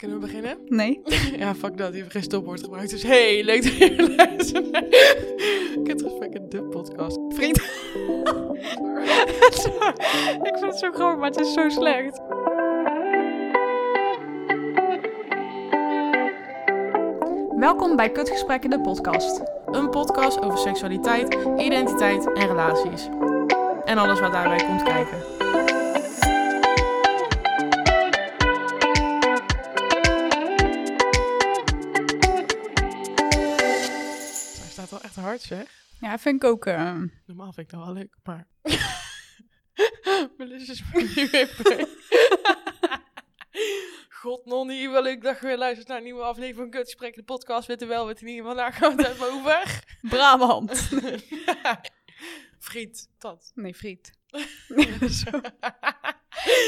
Kunnen we beginnen? Nee. Ja, fuck dat. Die heeft geen stopwoord gebruikt. Dus hey, leuk dat je luistert. Kut gesprek in de podcast. Vriend. ik vind het zo grappig, maar het is zo slecht. Welkom bij Kutgesprekken, de podcast. Een podcast over seksualiteit, identiteit en relaties. En alles wat daarbij komt kijken. Zij staat wel echt hard, zeg. Ja, vind ik ook... eh, Normaal vind ik dat wel leuk, maar... Melissa is me nu weer bij. God, Nonnie, wel leuk dat je weer luistert naar een nieuwe aflevering van Kutgesprek, de podcast. Witte wel, witte niet, vandaag gaan we het hebben over... Brabant. Friet, dat. Nee, friet.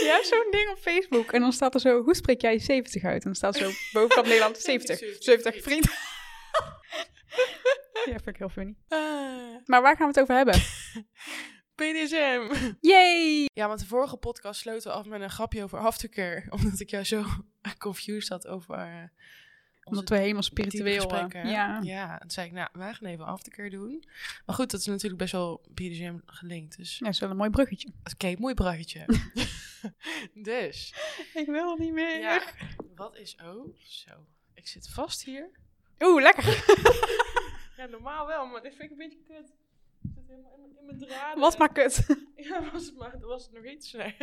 Ja, zo'n ding op Facebook. En dan staat er zo, hoe spreek jij 70 uit? En dan staat zo bovenop Nederland 70. 70, 70, friet. ja, vind ik heel funny. Ah, Maar waar gaan we het over hebben? PDSM. Yay! Ja, want de vorige podcast sloten we af met een grapje over aftercare. Omdat ik jou zo confused had over... eh, onze Omdat we helemaal spiritueel... eh, diepgesprekken. Ja. Ja, toen zei ik, nou, wij gaan even aftercare doen. Maar goed, dat is natuurlijk best wel BDSM gelinkt. Dus ja, is wel een mooi bruggetje. oké, mooi bruggetje. dus, Ik wil niet meer. ja, wat is... Oh, zo. Ik zit vast hier. Oeh, lekker. Ja, normaal wel, maar dit vind ik een beetje kut. Ik zit helemaal in, mijn draad. Was maar kut. Ja, was het maar, was het nog iets? Nee.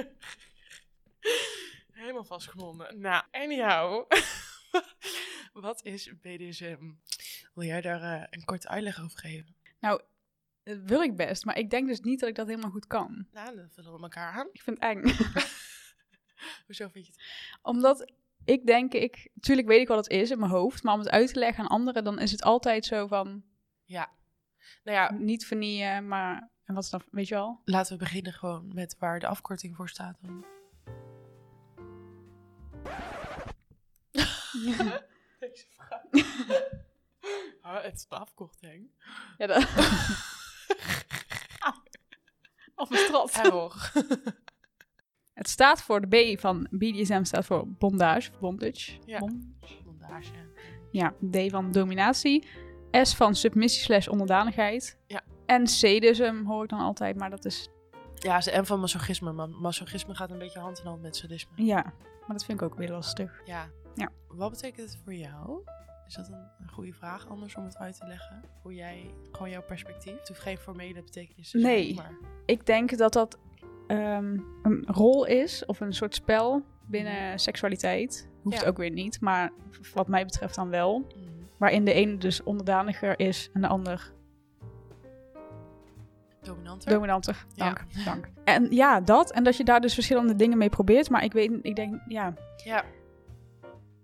Helemaal vastgebonden. Nou, anyhow. Wat is BDSM? Wil jij daar eh, een korte uitleg over geven? Dat wil ik best, maar ik denk dus niet dat ik dat helemaal goed kan. Nou, dan vullen we elkaar aan. Ik vind het eng. Hoezo vind je het? Omdat ik denk, ik, natuurlijk weet ik wat het is in mijn hoofd, maar om het uit te leggen aan anderen, dan is het altijd zo van Nou ja, niet vernieuwen, maar. En wat is dan, weet je wel? laten we beginnen gewoon met waar de afkorting voor staat. Dan. Deze vraag. Ah, het is de afkorting. ja, dat... Of een strat. Error. Het staat voor de B van BDSM, staat voor bondage, bondage. Ja. Bon- Bondage. ja, D van dominatie. S van submissie slash onderdanigheid. Ja. En C dus hem hoor ik dan altijd, maar dat is Ja, is de M van masochisme. Maar masochisme gaat een beetje hand in hand met sadisme. Ja, maar dat vind ik ook weer lastig. Ja. Ja. Wat betekent het voor jou? Is dat een een goede vraag anders om het uit te leggen? Hoe jij, gewoon jouw perspectief? Het hoeft geen formele betekenis te zijn, Nee. maar Ik denk dat dat ehm, een rol is of een soort spel binnen seksualiteit. Hoeft Mhm. Ja. ook weer niet, maar v- wat mij betreft dan wel. mm, Waarin de ene dus onderdaniger is en de ander dominanter. dominanter. Ja. Dank, dank. En ja, dat. En dat je daar dus verschillende dingen mee probeert. Maar ik weet, ik denk, ja, ja.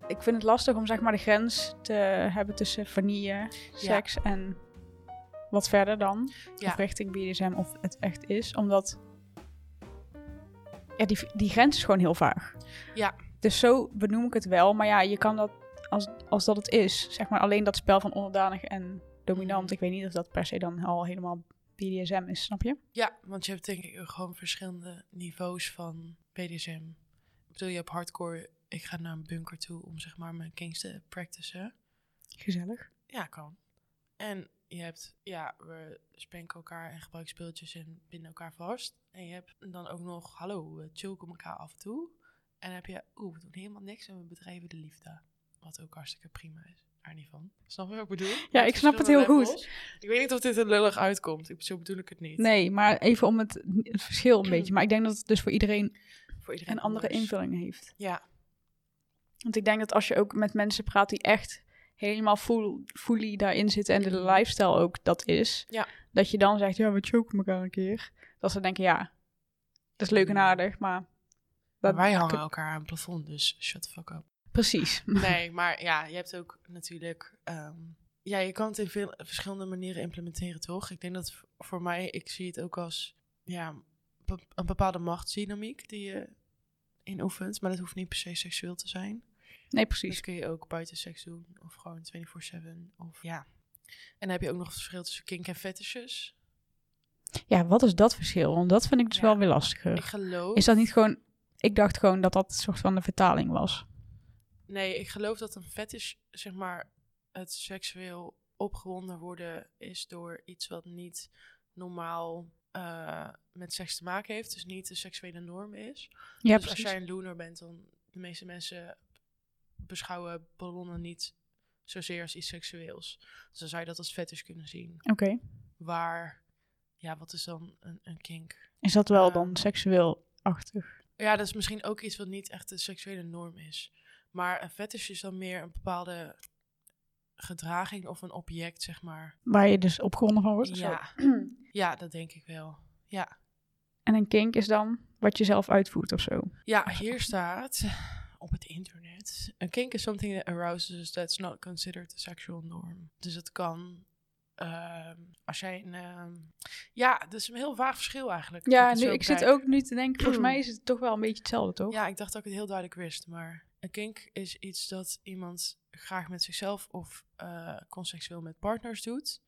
ik vind het lastig om zeg maar de grens te hebben tussen vanille, seks en wat verder dan. Ja. Of richting BDSM of het echt is. Omdat ja, die, die grens is gewoon heel vaag. Ja. Dus zo benoem ik het wel. Maar ja, je kan dat als, als dat het is. Zeg maar alleen dat spel van onderdanig en dominant. Mhm. Ik weet niet of dat per se dan al helemaal BDSM is, snap je? ja, want je hebt denk ik ook gewoon verschillende niveaus van BDSM. Ik bedoel, je hebt hardcore, ik ga naar een bunker toe om zeg maar mijn kinks te practicen. Gezellig. Ja, kan. En je hebt, ja, we spanken elkaar en gebruiken speeltjes en binden elkaar vast. En je hebt dan ook nog, hallo, we chillen elkaar af en toe. En dan heb je, oeh, we doen helemaal niks en we bedrijven de liefde. Wat ook hartstikke prima is. Daar niet van. Snap je wat ik bedoel? Ja, Met ik snap het heel verschillende goed. levels. Ik weet niet of dit er lullig uitkomt. Ik, zo bedoel ik het niet. Nee, maar even om het, het verschil een beetje. Maar ik denk dat het dus voor iedereen Voor iedereen een andere anders. invulling heeft. Ja, Want ik denk dat als je ook met mensen praat die echt helemaal full, fully daarin zitten en de Mhm. lifestyle ook dat is, Ja. dat je dan zegt, ja, we choken elkaar een keer. Dat ze denken, ja, dat is leuk en Ja. aardig, maar... Mhm. maar Dat, wij hangen elkaar aan het plafond, dus shut the fuck up. Precies. Nee, maar ja, je hebt ook natuurlijk. ehm, ja, je kan het in veel verschillende manieren implementeren, toch? Ik denk dat v- voor mij, ik zie het ook als ja, be- een bepaalde machtsdynamiek die je inoefent. Maar dat hoeft niet per se seksueel te zijn. Nee, Dus precies. kun je ook buiten seks doen of gewoon 24-7. Of ja. En dan heb je ook nog het verschil tussen kink en fetishes. Ja, wat is dat verschil? Want dat vind ik dus Ja. wel weer Ik lastiger. geloof. Is dat niet gewoon... Ik dacht gewoon dat dat een soort van de vertaling was. Nee, ik geloof dat een fetish, zeg maar, het seksueel opgewonden worden is door iets wat niet normaal eh, met seks te maken heeft. Dus niet de seksuele norm is. Ja, dus als jij een loner bent, dan de meeste mensen beschouwen ballonnen niet zozeer als iets seksueels. Dus dan zou je dat als fetish kunnen zien. Oké. Waar, ja, wat is dan een, een kink? Is dat wel Ja. dan seksueel-achtig? Ja, dat is misschien ook iets wat niet echt de seksuele norm is. Maar een fetish is dan meer een bepaalde gedraging of een object, zeg maar. Waar je dus opgewonden van wordt? of zo? Ja, ja, dat denk ik wel. Ja. En een kink is dan wat je zelf uitvoert of zo. Ja, hier staat op het internet. A kink is something that arouses us that's not considered a sexual norm. Dus het kan. ehm, als jij een. ehm, ja, dat is een heel vaag verschil eigenlijk. als Ja, het nu, zo ik zit bekijk. ook nu te denken, volgens mij is het toch wel een beetje hetzelfde, toch? Ja, ik dacht dat ik het heel duidelijk wist, maar. Een kink is iets dat iemand graag met zichzelf of eh conseksueel met partners doet.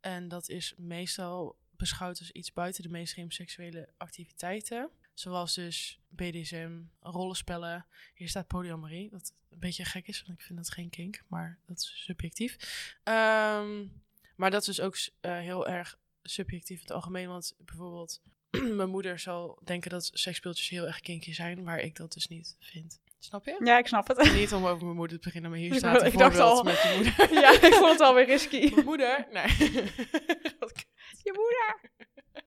En dat is meestal beschouwd als iets buiten de mainstream seksuele activiteiten. Zoals dus BDSM, rollenspellen. Hier staat polyamorie, wat een beetje gek is, want ik vind dat geen kink, maar dat is subjectief. Ehm, maar dat is dus ook s- eh, heel erg subjectief in het algemeen, want bijvoorbeeld mijn moeder zal denken dat seksspeeltjes heel erg kinky zijn, waar ik dat dus niet vind. Snap je? Ja, ik snap het. Niet om over mijn moeder te beginnen, maar hier Ik staat wou- een ik dacht voorbeeld al. met je moeder. ja, ik vond het alweer risky. Mijn moeder? Nee. Wat k- Je moeder.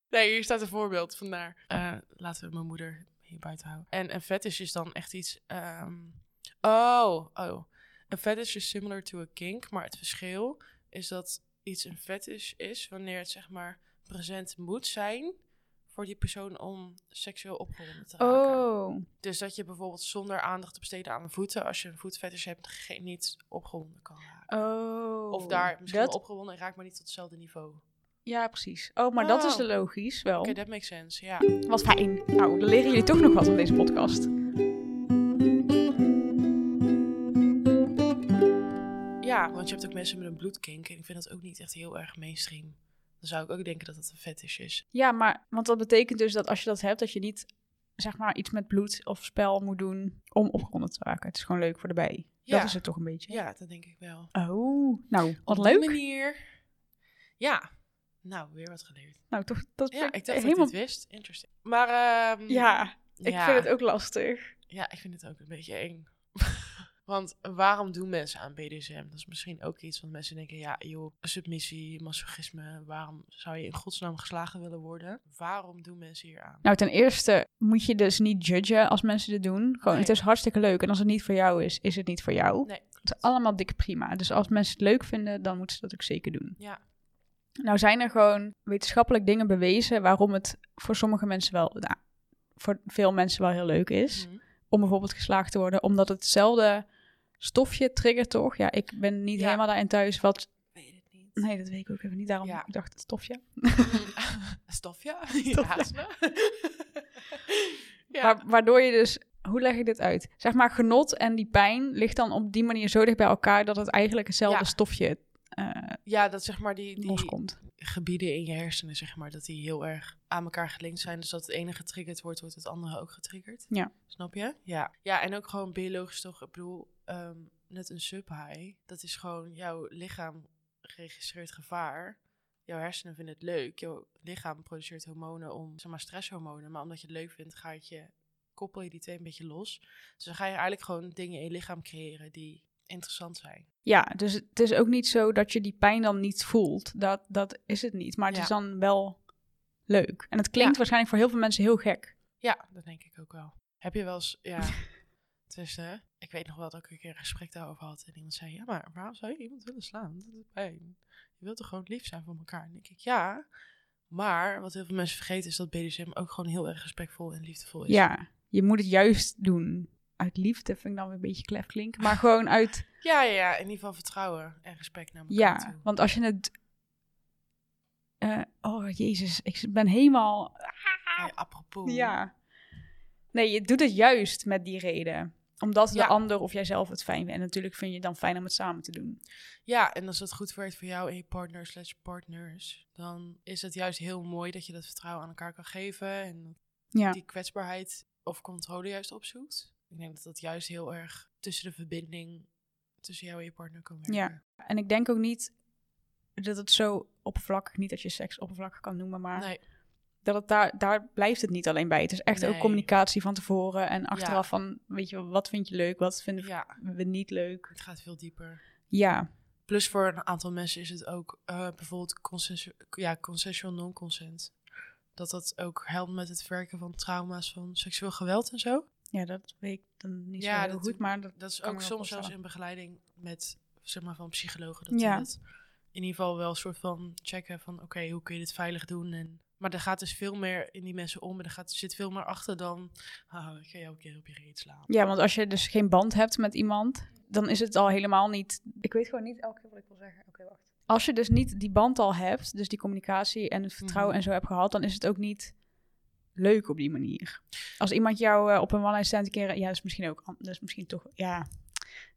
nee, hier staat een voorbeeld, vandaar. Eh, laten we mijn moeder hier buiten houden. En een fetish is dan echt iets... ehm, Oh, oh. Een fetish is similar to a kink, maar het verschil is dat iets een fetish is wanneer het zeg maar present moet zijn voor die persoon om seksueel opgewonden te raken. Oh, Dus dat je bijvoorbeeld zonder aandacht te besteden aan de voeten, als je een voetfetish hebt, ge- niet opgewonden kan raken. oh. Of daar misschien Dat- wel opgewonden raakt, maar niet tot hetzelfde niveau. Oké, Ja, precies. Oh, maar dat is Oh. de logisch wel. that makes sense, ja. Wat fijn. Nou, dan leren jullie toch nog wat op deze podcast. Ja, want je hebt ook mensen met een bloedkink en ik vind dat ook niet echt heel erg mainstream. Dan zou ik ook denken dat dat een fetish is. Ja, maar want dat betekent dus dat als je dat hebt, dat je niet zeg maar iets met bloed of spel moet doen om opgeronden te raken. Het is gewoon leuk voor de bij. Ja. Dat is het toch een beetje. Ja, dat denk ik wel. Oh, nou, wat Op leuk. die manier. Ja. Nou, weer wat geleerd. Nou, toch, dat Ja, vind ik dacht helemaal... dat ik dit wist. Interesting. Maar ehm, Ja, ik ja. vind het ook lastig. Ja, ik vind het ook een beetje eng. Want waarom doen mensen aan BDSM? Dat is misschien ook iets want mensen denken, ja joh, submissie, masochisme, waarom zou je in godsnaam geslagen willen worden? Waarom doen mensen hier aan? Nou, ten eerste moet je dus niet judgen als mensen dit doen. Gewoon, Nee. het is hartstikke leuk. En als het niet voor jou is, is het niet voor jou. Nee, Het is allemaal dik prima. Dus als mensen het leuk vinden, dan moeten ze dat ook zeker doen. ja, Nou zijn er gewoon wetenschappelijk dingen bewezen waarom het voor sommige mensen wel, nou, voor veel mensen wel heel leuk is. Mhm. Om bijvoorbeeld geslaagd te worden, omdat het hetzelfde stofje triggert toch? Ja, ik ben niet Ja. helemaal daarin thuis wat... weet het niet. Nee, dat weet ik ook even niet. Daarom Ja. ik dacht het stofje. Stofja? Stofja. Ja, is me. ja. Wa- waardoor je dus... Hoe leg ik dit uit? Zeg maar, genot en die pijn ligt dan op die manier zo dicht bij elkaar... dat het eigenlijk hetzelfde Ja. stofje eh, ja, dat zeg maar die, die, loskomt. gebieden in je hersenen, zeg maar, dat die heel erg aan elkaar gelinkt zijn. Dus dat het ene getriggerd wordt, wordt het andere ook getriggerd. Ja. Snap je? Ja. Ja, en ook gewoon biologisch toch. Ik bedoel, ehm, net een subhigh, dat is gewoon jouw lichaam registreert gevaar. Jouw hersenen vinden het leuk. Jouw lichaam produceert hormonen om, zeg maar, stresshormonen. Maar omdat je het leuk vindt, ga je het je, koppel je die twee een beetje los. Dus dan ga je eigenlijk gewoon dingen in je lichaam creëren die interessant zijn. Ja, dus het is ook niet zo dat je die pijn dan niet voelt. Dat, dat is het niet. Maar het Ja. is dan wel leuk. En het klinkt Ja. waarschijnlijk voor heel veel mensen heel gek. Ja, dat denk ik ook wel. Heb je wel eens, ja, tussen, ik weet nog wel dat ik een keer een gesprek daarover had en iemand zei, ja, maar waarom zou je iemand willen slaan? Dat doet pijn. Je wilt toch gewoon lief zijn voor elkaar? En dan denk ik, ja, maar wat heel veel mensen vergeten is dat BDSM ook gewoon heel erg respectvol en liefdevol is. Ja, je moet het juist doen. Uit liefde vind ik dan weer een beetje klef klinken. Maar gewoon uit, ja, ja, ja, in ieder geval vertrouwen en respect naar elkaar ja. toe. Want als je het... eh, oh, jezus, ik ben helemaal... Hey, apropos. Ja. Nee, je doet het juist met die reden. Omdat de Ja. ander of jijzelf het fijn vindt. En natuurlijk vind je het dan fijn om het samen te doen. Ja, en als dat goed werkt voor jou en je partner slash partners, dan is het juist heel mooi dat je dat vertrouwen aan elkaar kan geven en Ja. die kwetsbaarheid of controle juist opzoekt. Ik denk dat dat juist heel erg tussen de verbinding tussen jou en je partner kan werken. Ja. En ik denk ook niet dat het zo oppervlakkig, niet dat je seks oppervlakkig kan noemen, maar Nee, dat het daar, daar blijft het niet alleen bij. Het is echt ook Nee. communicatie van tevoren en achteraf van, weet je, wat vind je leuk, wat vinden ja, we niet leuk. het gaat veel dieper. Ja, Plus voor een aantal mensen is het ook eh, bijvoorbeeld consensu- ja, consensual non-consent. Dat dat ook helpt met het verwerken van trauma's van seksueel geweld en zo. ja dat weet ik dan niet Ja, zo heel dat- goed, maar dat, Dat is Kan ook me wel soms zelfs voorstellen. in begeleiding met, zeg maar, van psychologen. Dat Ja. die dat in ieder geval wel een soort van checken van, oké, hoe kun je dit veilig doen? En, maar er gaat dus veel meer in die mensen om en er gaat, zit veel meer achter dan, ah, ik ga jou een keer op je reet slaan. ja, want als je dus geen band hebt met iemand, dan is het al helemaal niet... Ik weet gewoon niet elke keer wat ik wil zeggen. Oké, wacht. Als je dus niet die band al hebt, dus die communicatie en het vertrouwen Mhm. en zo hebt gehad, dan is het ook niet leuk op die manier. Als iemand jou eh, op een one-night stand een keer... Ja, dat is misschien ook... an- Dat is misschien toch... Ja,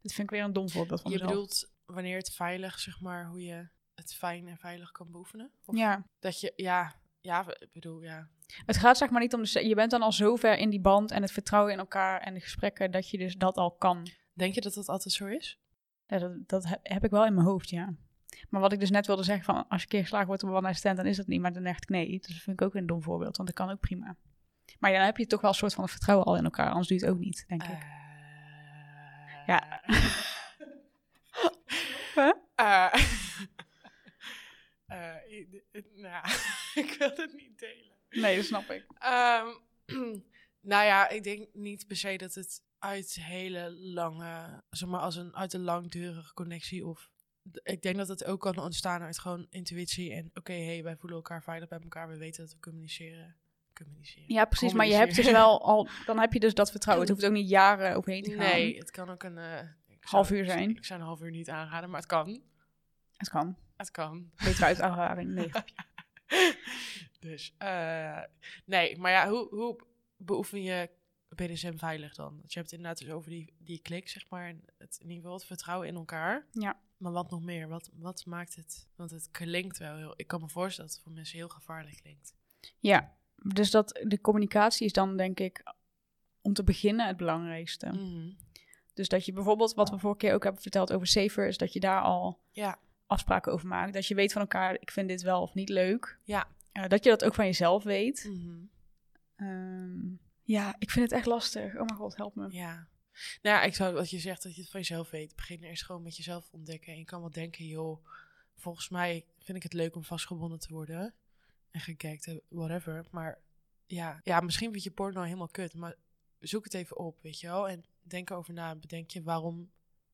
dat vind ik weer een dom voorbeeld van Je mezelf. bedoelt wanneer het veilig, zeg maar, hoe je het fijn en veilig kan beoefenen? Of Ja, Dat je, ja, ja, ik bedoel, ja. het gaat zeg maar niet om... De, se- je bent dan al zo ver in die band en het vertrouwen in elkaar en de gesprekken dat je dus dat al kan. Denk je dat dat altijd zo is? Ja, dat, dat he- heb ik wel in mijn hoofd, ja. Maar wat ik dus net wilde zeggen, van als je een keer geslagen wordt op een one-night stand, dan is dat niet. Maar dan dacht ik nee. Dus dat vind ik ook een dom voorbeeld, want dat kan ook prima. Maar ja, dan heb je toch wel een soort van vertrouwen al in elkaar, anders doe je het ook niet, denk ik. Eh, Ja. Eh, eh, i- i- nou, ik wil het niet delen. Nee, dat snap ik. Ehm, nou ja, ik denk niet per se dat het uit hele lange, zeg maar als een uit een langdurige connectie of. d- Ik denk dat het ook kan ontstaan uit gewoon intuïtie en oké, hey, wij voelen elkaar veilig bij elkaar, we weten dat we communiceren. communiceren. Ja, precies. Maar je hebt dus Communiceren. wel al, dan heb je dus dat vertrouwen. Het hoeft ook niet jaren overheen te gaan. Nee, het kan ook een eh, ik zou- Half uur zijn. Ik zou een half uur niet aanraden, maar het kan. Het kan. Het kan. Beter uit ervaring. Nee. dus, eh, nee, maar ja, hoe, hoe beoefen je BDSM veilig dan? Want je hebt het inderdaad dus over die, die klik, zeg maar, en het, in ieder geval het vertrouwen in elkaar. Ja. Maar wat nog meer? Wat, wat maakt het? Want het klinkt wel heel... Ik kan me voorstellen dat het voor mensen heel gevaarlijk klinkt. Ja, dus dat, de communicatie is dan denk ik om te beginnen het belangrijkste. Mhm. Dus dat je bijvoorbeeld, wat we vorige keer ook hebben verteld over Safer, is dat je daar al Ja. afspraken over maakt. Dat je weet van elkaar, ik vind dit wel of niet leuk. Ja. Eh, dat je dat ook van jezelf weet. Mhm. Ehm, ja, ik vind het echt lastig. Oh mijn god, help me. Ja. Nou ja, ik zou wat je zegt, dat je het van jezelf weet. Begin eerst gewoon met jezelf ontdekken. En je kan wel denken, joh, volgens mij vind ik het leuk om vastgebonden te worden. En gekijkt, te- whatever. Maar ja, ja, misschien vind je porno nou helemaal kut. Maar zoek het even op, weet je wel. En denk erover na. Bedenk je, waarom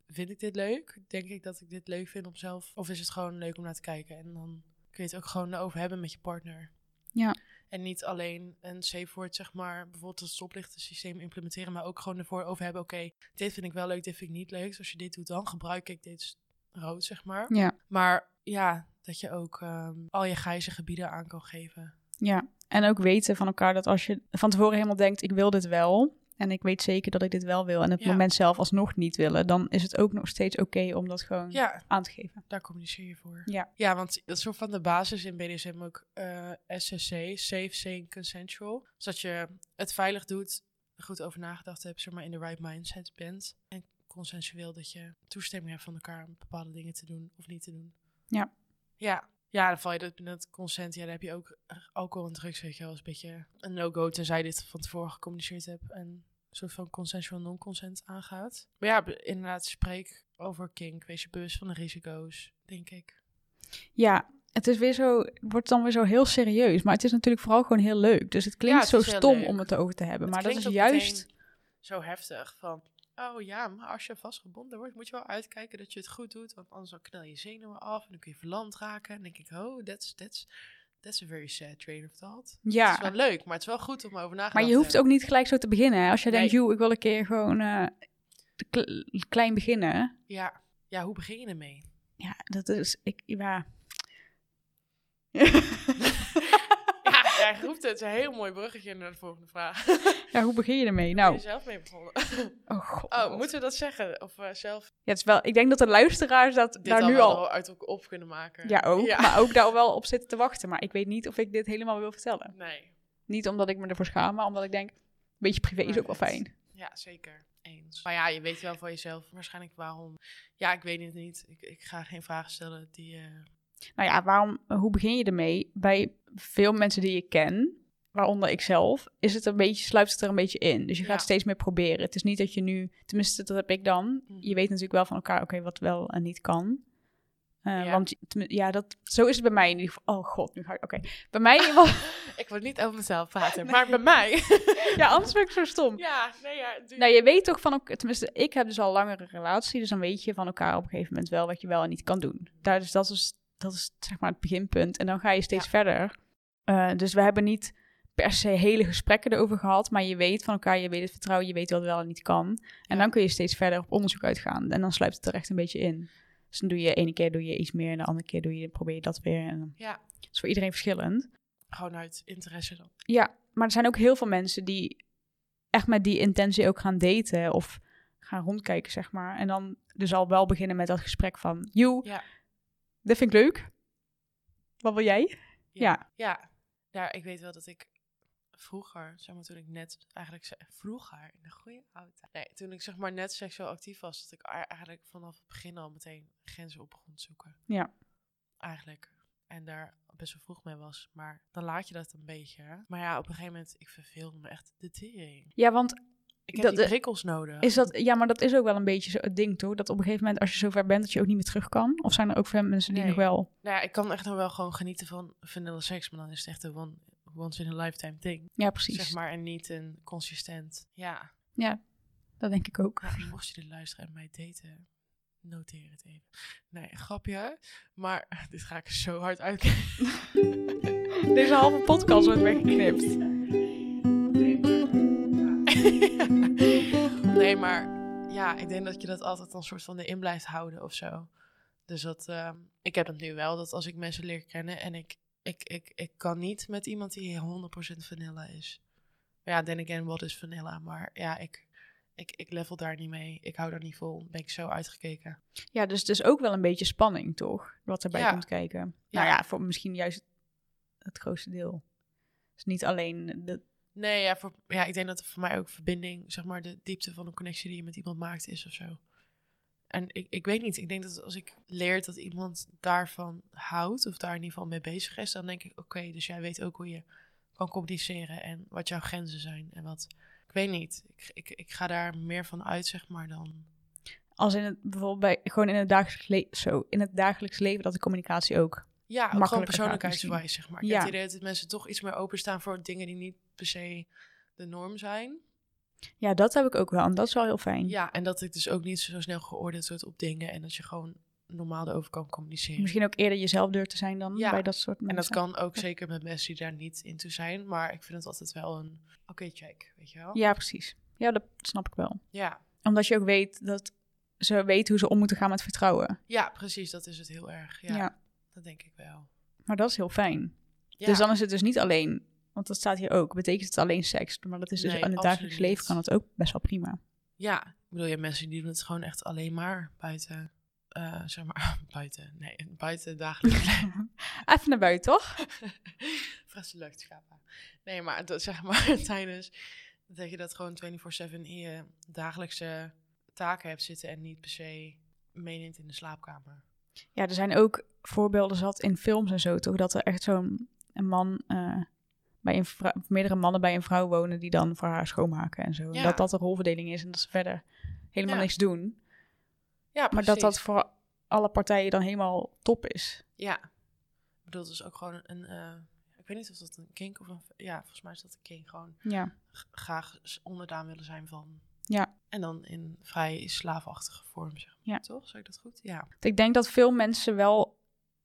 vind ik dit leuk? Denk ik dat ik dit leuk vind om zelf? Of is het gewoon leuk om naar te kijken? En dan kun je het ook gewoon over hebben met je partner. Ja. En niet alleen een safe word, zeg maar, bijvoorbeeld het stoplichtensysteem implementeren, maar ook gewoon ervoor over hebben, oké, dit vind ik wel leuk, dit vind ik niet leuk. Dus als je dit doet, dan gebruik ik dit rood, zeg maar. Ja. Maar ja, dat je ook ehm, al je grijze gebieden aan kan geven. Ja, en ook weten van elkaar dat als je van tevoren helemaal denkt, ik wil dit wel. En ik weet zeker dat ik dit wel wil. En het Ja. moment zelf alsnog niet willen. Dan is het ook nog steeds oké om dat gewoon Ja, aan te geven. daar communiceer je voor. Ja. Ja, want dat is soort van de basis in BDSM ook eh, SSC, Safe, Sane, Consensual. Zodat je het veilig doet, er goed over nagedacht hebt, zeg maar in de right mindset bent. En consensueel dat je toestemming hebt van elkaar om bepaalde dingen te doen of niet te doen. Ja. Ja. Ja, dan val je dat binnen het consent. Ja, dan heb je ook eh, alcohol en drugs, weet je wel, is een beetje een no-go. Tenzij je dit van tevoren gecommuniceerd hebt en een soort van consensual non-consent aangaat. Maar ja, be- inderdaad, spreek over kink. Wees je bewust van de risico's, denk ik. Ja, het is weer zo, het wordt dan weer zo heel serieus. Maar het is natuurlijk vooral gewoon heel leuk. Dus het klinkt het zo is heel stom leuk. om het erover te hebben. Het maar dat is klinkt ook meteen juist. zo heftig van. Oh ja, maar als je vastgebonden wordt, moet je wel uitkijken dat je het goed doet. Want anders dan knel je zenuwen af en dan kun je verlamd raken. En dan denk ik, oh, that's, that's, that's a very sad train of thought. Het is Ja, wel leuk, maar het is wel goed om over na te maar je hoeft ook niet gelijk zo te beginnen. hè. Als je Nee. denkt, joh, ik wil een keer gewoon eh, kle- klein beginnen. Ja, ja hoe begin je ermee? Ja, dat is. Ik, ja. ja, jij roept het. Het is een heel mooi bruggetje naar de volgende vraag. ja, hoe begin je Ben je ermee? Nou, zelf mee begonnen? oh god. Oh, moeten we dat zeggen? Of eh, zelf ja, het is wel, ik denk dat de luisteraars dat dit daar Nou, al nu wel al. uit elkaar op kunnen maken? Ja, ook. Maar ook daar wel op zitten te wachten. Maar ik weet niet of ik dit helemaal wil vertellen. Nee. Niet omdat ik me ervoor schaam, maar omdat ik denk, een beetje privé is Maar ook wel vet. fijn. Ja, zeker. Eens. Maar ja, je weet wel van jezelf waarschijnlijk waarom. Ja, ik weet het niet. Ik, ik ga geen vragen stellen die... eh, Nou ja, waarom, hoe begin je ermee? Bij veel mensen die ik ken, waaronder ikzelf, is het een beetje, sluipt het er een beetje in. Dus je gaat Ja. steeds meer proberen. Het is niet dat je nu, tenminste dat heb ik dan. Mm. Je weet natuurlijk wel van elkaar, oké, wat wel en niet kan. Eh, Ja. Want je- tenmin- ja, dat, zo is het bij mij in ieder geval. Oh god, nu ga ik. Oké, bij mij in ieder geval. ik wil niet over mezelf praten, maar bij mij... ja, anders ben ik zo stom. ja, nee, ja. doe- Nou, je weet toch van elkaar. Tenminste, ik heb dus al langere relatie, dus dan weet je van elkaar op een gegeven moment wel wat je wel en niet kan doen. Daar, dus dat is, dat is zeg maar het beginpunt. En dan ga je steeds verder. Eh, dus we hebben niet per se hele gesprekken erover gehad, maar je weet van elkaar, je weet het vertrouwen, je weet wat wel en niet kan. Ja. En dan kun je steeds verder op onderzoek uitgaan. En dan sluipt het er echt een beetje in. Dus dan doe je ene keer doe je iets meer en de andere keer doe je, probeer je dat weer. En dan- Ja. Het is voor iedereen verschillend. Gewoon uit interesse dan. Ja, maar er zijn ook heel veel mensen die echt met die intentie ook gaan daten of gaan rondkijken, zeg maar. En dan dus al wel beginnen met dat gesprek van, joe, Ja. dat vind ik leuk. Wat wil jij? Ja. Ja. Ja, ik weet wel dat ik vroeger, zeg maar toen ik net, eigenlijk ze- vroeger, in de goede oude tijd. Nee, toen ik zeg maar net seksueel actief was, dat ik a- eigenlijk vanaf het begin al meteen grenzen op begon te zoeken. Ja. Eigenlijk. En daar best wel vroeg mee was. Maar dan laat je dat een beetje. hè. Maar ja, op een gegeven moment, ik verveelde me echt de tering. Ja, want Ik heb Dat- die eh, prikkels nodig. is dat, ja, maar dat is ook wel een beetje zo het ding, toch? Dat op een gegeven moment, als je zover bent, dat je ook niet meer terug kan. Of zijn er ook veel mensen die Nee. nog wel... Nou ja, ik kan echt nog wel gewoon genieten van vanilla seks. Maar dan is het echt een one- once in a lifetime ding. Ja, precies. Zeg maar, en niet een consistent, ja... Dat denk ik ook. Ja, eh, mocht je dit luisteren en mij daten, noteer het even. Nee, grapje. Maar dit ga ik zo hard uitkijken. Deze halve podcast wordt weggeknipt. nee, maar ja, ik denk dat je dat altijd een soort van erin blijft houden of zo. Dus dat, ehm, ik heb het nu wel, dat als ik mensen leer kennen en ik, ik, ik, ik kan niet met iemand die 100% vanilla is. Maar ja, then again, wat is vanilla? Maar ja, ik, ik, ik level daar niet mee. Ik hou daar niet vol. Ben ik zo uitgekeken. Ja, dus het is ook wel een beetje spanning, toch? Wat erbij Ja. komt kijken. Ja. Nou ja, voor misschien juist het grootste deel. Dus niet alleen de... Nee, ja, voor, ja, ik denk dat voor mij ook verbinding, zeg maar, de diepte van een connectie die je met iemand maakt is of zo. En ik, ik weet niet, ik denk dat als ik leer dat iemand daarvan houdt, of daar in ieder geval mee bezig is, dan denk ik, oké, dus jij weet ook hoe je kan communiceren en wat jouw grenzen zijn en wat, ik weet niet, ik, ik, ik ga daar meer van uit, zeg maar, dan, Als in het bijvoorbeeld bij, gewoon in het dagelijks leven, zo, in het dagelijks leven, dat de communicatie ook. ja, ook gewoon Makkelijker persoonlijkheidswijs, zeg maar. Ik Ja. heb het idee dat mensen toch iets meer openstaan voor dingen die niet per se de norm zijn. Ja, dat heb ik ook wel. En dat is wel heel fijn. Ja, en dat ik dus ook niet zo snel geoordeeld word op dingen en dat je gewoon normaal erover kan communiceren. Misschien ook eerder jezelf durf te zijn dan Ja. bij dat soort En mensen. dat kan ook zeker met mensen die daar niet in toe zijn, maar ik vind het altijd wel een oké check, weet je wel? Ja, precies. Ja, dat snap ik wel. ja. Omdat je ook weet dat ze weten hoe ze om moeten gaan met vertrouwen. Ja, precies, dat is het heel erg. Ja, Ja. dat denk ik wel. Maar dat is heel fijn. Ja, Dus dan is het dus niet alleen, want dat staat hier ook, betekent het alleen seks. Maar dat is dus Nee, in het absoluut dagelijks leven niet. kan dat ook best wel prima. ja. ik bedoel, je hebt mensen die doen het gewoon echt alleen maar buiten, eh, zeg maar, buiten, nee, buiten dagelijks leven. Even naar buiten, toch? Frisse lucht schapen. Nee, maar dat, zeg maar tijdens dat je dat gewoon 24-7 in je dagelijkse taken hebt zitten en niet per se meeneemt in de slaapkamer. Ja, er zijn ook voorbeelden zat in films en zo, toch? Dat er echt zo'n een man, eh, bij een vrou- meerdere mannen bij een vrouw wonen die dan voor haar schoonmaken en zo. Ja. En dat dat de rolverdeling is en dat ze verder helemaal Ja. niks doen. Ja, Maar dat dat voor alle partijen dan helemaal top is. Ja. Ik bedoel, dat is ook gewoon een... eh, ik weet niet of dat een kink of een... Ja, volgens mij is dat een kink. Gewoon Ja. g- graag s- onderdaan willen zijn van... Ja. En dan in vrij slaafachtige vorm, zeg maar. Ja. Toch? Zeg ik dat goed? Ja. Ik denk dat veel mensen wel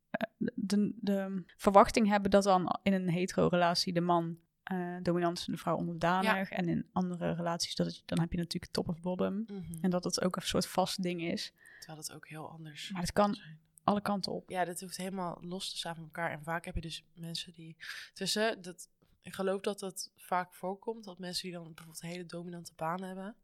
eh, de, de verwachting hebben dat dan in een hetero-relatie de man eh, dominant is en de vrouw onderdanig. En in andere relaties, dat het, dan heb je natuurlijk top of bottom. Mhm. En dat dat ook een soort vast ding is. Terwijl dat ook heel anders Maar het kan zijn. alle kanten op. Ja, dat hoeft helemaal los te staan van elkaar. En vaak heb je dus mensen die. Tussen, dat, ik geloof dat dat vaak voorkomt. Dat mensen die dan bijvoorbeeld een hele dominante baan hebben,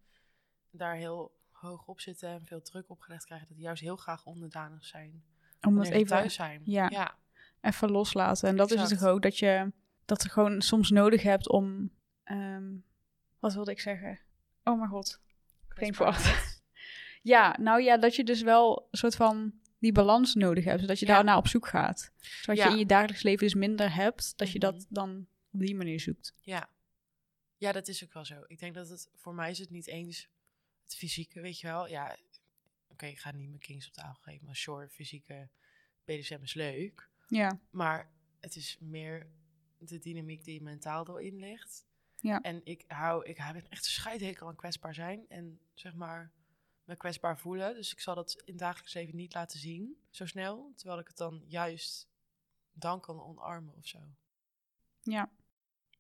daar heel hoog op zitten en veel druk opgelegd krijgen, dat die juist heel graag onderdanig zijn. Om dat wanneer ze even, thuis zijn. ja. ja. even loslaten. En dat is het Exact. toch ook, dat je dat er gewoon soms nodig hebt om. ehm, wat wilde ik zeggen? Oh mijn god. Geen voor Kwetsbaarheid. Ja, nou ja, dat je dus wel een soort van die balans nodig hebt. Zodat je Ja. daarna op zoek gaat. Zodat Ja. je in je dagelijks leven dus minder hebt. Dat je Mhm. dat dan op die manier zoekt. Ja. ja, dat is ook wel zo. Ik denk dat het voor mij is het niet eens het fysieke, weet je wel. Ja, oké, ik ga niet mijn kings op tafel geven, maar sure, fysieke BDSM is leuk. Ja, Maar het is meer de dynamiek die mentaal erin ligt. Ja. En ik hou, ik heb echt een scheidhekel aan kwetsbaar zijn en zeg maar me kwetsbaar voelen. Dus ik zal dat in het dagelijks leven niet laten zien, zo snel. Terwijl ik het dan juist dan kan omarmen of zo. ja.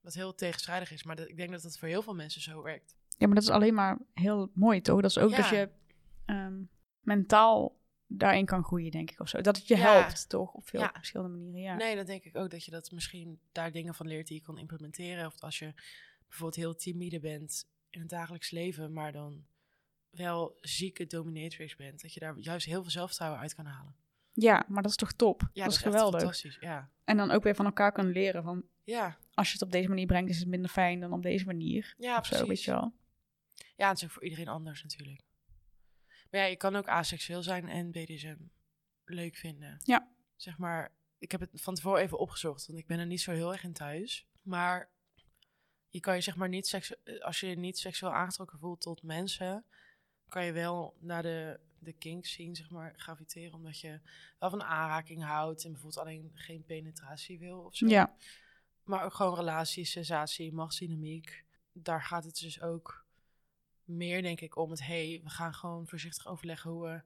Wat heel tegenstrijdig is, maar dat, ik denk dat dat voor heel veel mensen zo werkt. Ja, maar dat is alleen maar heel mooi, toch? Dat is ook dat Ja. je ehm, mentaal daarin kan groeien, denk ik, of zo. Dat het je Ja. helpt, toch? Op veel Ja. verschillende manieren, ja. Nee, dan denk ik ook dat je dat misschien daar dingen van leert die je kan implementeren. Of als je bijvoorbeeld heel timide bent in het dagelijks leven, maar dan wel zieke dominatrix bent. Dat je daar juist heel veel zelfvertrouwen uit kan halen. Ja, maar dat is toch top? Ja, dat is echt geweldig. fantastisch. Ja. En dan ook weer van elkaar kunnen leren van... Ja, Als je het op deze manier brengt, is het minder fijn dan op deze manier. ja of zo, weet precies. je wel. Ja, het is ook voor iedereen anders natuurlijk. Maar ja, je kan ook aseksueel zijn en BDSM leuk vinden. Ja. Zeg maar, ik heb het van tevoren even opgezocht, want ik ben er niet zo heel erg in thuis. Maar je kan je zeg maar niet seksu- eh, als je je niet seksueel aangetrokken voelt tot mensen, kan je wel naar de, de kinks zien, zeg maar, graviteren. Omdat je wel van aanraking houdt en bijvoorbeeld alleen geen penetratie wil of zo. Ja. Maar ook gewoon relaties, sensatie, machtsdynamiek. Daar gaat het dus ook meer, denk ik, om het... hey, we gaan gewoon voorzichtig overleggen hoe we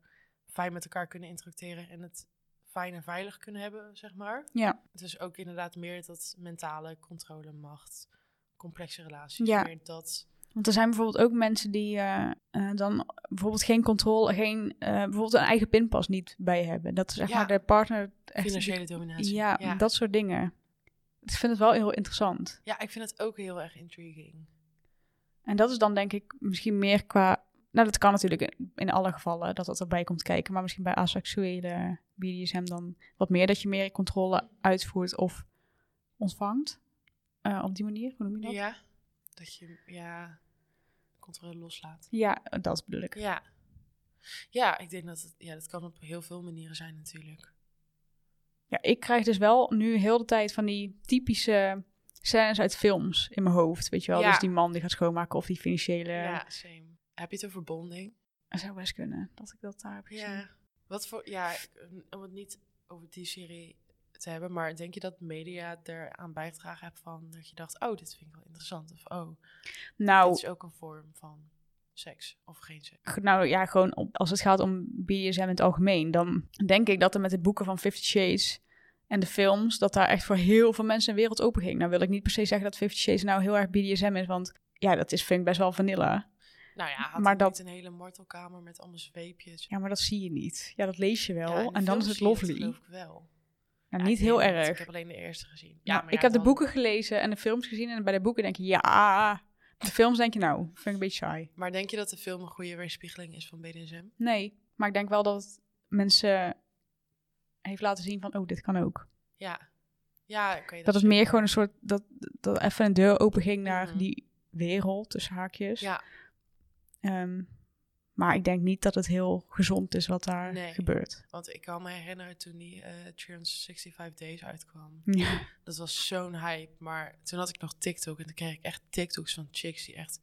fijn met elkaar kunnen interacteren... en het fijn en veilig kunnen hebben, zeg maar. Ja. Het is ook inderdaad meer dat mentale controle, macht, complexe relaties. Ja. Meer dat... Want er zijn bijvoorbeeld ook mensen die eh, eh, dan bijvoorbeeld geen controle... Geen, eh, bijvoorbeeld een eigen pinpas niet bij hebben. Dat is echt Ja. maar de partner... Echt, Financiële dominatie. ja, dat soort dingen. Ik vind het wel heel interessant. ja, ik vind het ook heel erg intriguing. En dat is dan denk ik misschien meer qua... Nou, dat kan natuurlijk in- in alle gevallen dat dat erbij komt kijken. Maar misschien bij asexuele BDSM dan wat meer. Dat je meer controle uitvoert of ontvangt. Eh, op die manier, hoe noem je dat? Ja. Dat je ja, controle loslaat. Ja, dat bedoel ik. Ja. Ja, ik denk dat het, ja, dat kan op heel veel manieren zijn natuurlijk. Ja, ik krijg dus wel nu heel de tijd van die typische scènes uit films in mijn hoofd. Weet je wel, Ja. dus die man die gaat schoonmaken of die financiële... Ja, same. Heb je het over bonding? Dat zou best kunnen dat ik dat daar heb gezien. Wat voor, ja, ik- om het niet over die serie te hebben, maar denk je dat media eraan bijgedragen heeft van dat je dacht, oh, dit vind ik wel interessant. Of oh, dit Nou, is ook een vorm van seks of geen seks. Ge- Nou ja, gewoon op- als het gaat om BDSM in het algemeen, dan denk ik dat er met de boeken van Fifty Shades en de films, dat daar echt voor heel veel mensen een wereld open ging. Nou wil ik niet per se zeggen dat Fifty Shades nou heel erg BDSM is, want ja, dat is, vind ik best wel vanilla. Nou ja, had Maar maar dat... dat- niet een hele martelkamer met allemaal zweepjes. Ja, maar dat zie je niet. Ja, dat lees je wel. Ja, in de en dan film is het zie je lovely. geloof ik wel. Nou, Ja, niet ik heel weet het niet. Ik erg. heb alleen de eerste gezien. Ja, maar Nou, ik heb de dan- boeken gelezen en de films gezien en bij de boeken denk je, ja. De films denk je, nou, vind ik een beetje saai. Maar denk je dat de film een goede weerspiegeling is van BDSM? Nee, maar ik denk wel dat het mensen heeft laten zien van, oh, dit kan ook. Ja. Ja, oké. Dat het is- meer gewoon een soort, dat, dat even een deur open ging naar Mhm. die wereld, tussen haakjes. Ja, Ehm, maar ik denk niet dat het heel gezond is wat daar Nee. gebeurt. want ik kan me herinneren toen die eh 365 Days uitkwam. Ja. Dat was zo'n hype. Maar toen had ik nog TikTok en toen kreeg ik echt TikToks van chicks die echt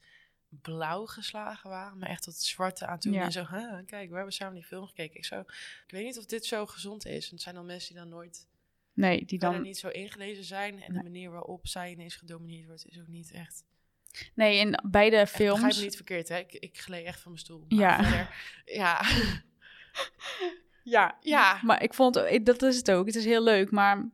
blauw geslagen waren. Maar echt tot het zwarte aan toe. Ja. En zo, "Huh, kijk, we hebben samen die film gekeken. Ik zo, ik weet niet of dit zo gezond is. En het zijn dan mensen die dan nooit, Nee, die die dan... dan... niet zo ingelezen zijn. En Nee. de manier waarop zij ineens gedomineerd wordt is ook niet echt... Nee, in beide Echt, begrijp me films... niet verkeerd, hè? Ik, ik gleed echt van mijn stoel. Ja. Ja. Verder, ja. Ja. Ja. Maar ik vond, eh, ik- dat is het ook. Het is heel leuk, maar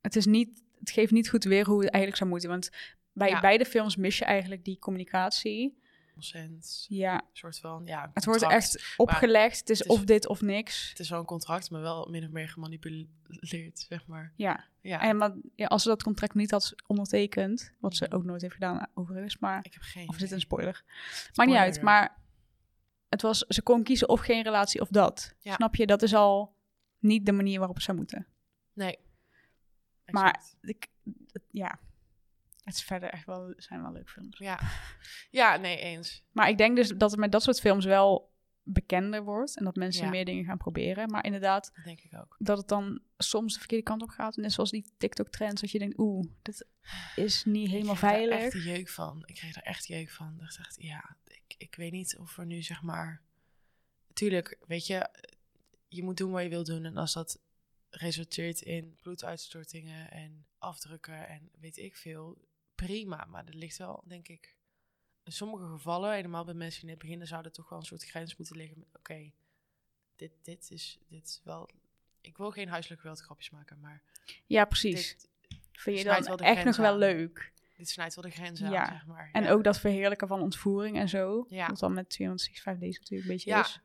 het, is niet, het geeft niet goed weer hoe het eigenlijk zou moeten. Want bij Ja. beide films mis je eigenlijk die communicatie. Consent, Ja, soort van, ja. een het wordt contract. echt opgelegd. het, is het is- of dit of niks. Het is wel een contract, maar wel min of meer gemanipuleerd, zeg maar. Ah Ja. Ja, En maar, ja, als ze dat contract niet had ondertekend, wat ze ook nooit heeft gedaan overigens, maar ik heb geen of is dit een idee. spoiler? Maakt niet uit, Spoiler. maar het was, ze kon kiezen of geen relatie of dat. Ja. Snap je? Dat is al niet de manier waarop het zou moeten. Nee. Maar- Exact. Ik, het- ja. Het is verder echt wel, zijn wel leuke films. Ja. ja, nee, eens. Maar ik denk dus dat het met dat soort films wel bekender wordt. En dat mensen Ja. meer dingen gaan proberen. Maar inderdaad, Dat denk ik ook. dat het dan soms de verkeerde kant op gaat. Net zoals die TikTok-trends. Dat je denkt, oeh, dat is niet helemaal ik kreeg daar veilig. echt de jeuk van. Ik kreeg er echt jeuk van. Ik dacht echt, ja, ik, ik weet niet of we nu zeg maar... Tuurlijk, weet je, je moet doen wat je wilt doen. En als dat resulteert in bloeduitstortingen en afdrukken en weet ik veel, prima. Maar er ligt wel, denk ik, in sommige gevallen, helemaal bij mensen die net beginnen, zou er toch wel een soort grens moeten liggen. met, Oké, dit, dit, is, dit is wel... Ik wil geen huiselijk geweld grapjes maken, maar Ja, precies. dit, Vind je snijdt wel dan de echt nog grens wel aan. leuk. dit snijdt wel de grens aan, Ja. zeg maar. En Ja. ook dat verheerlijken van ontvoering en zo. Ja. Wat dan met 265 Days natuurlijk een beetje Ja. is.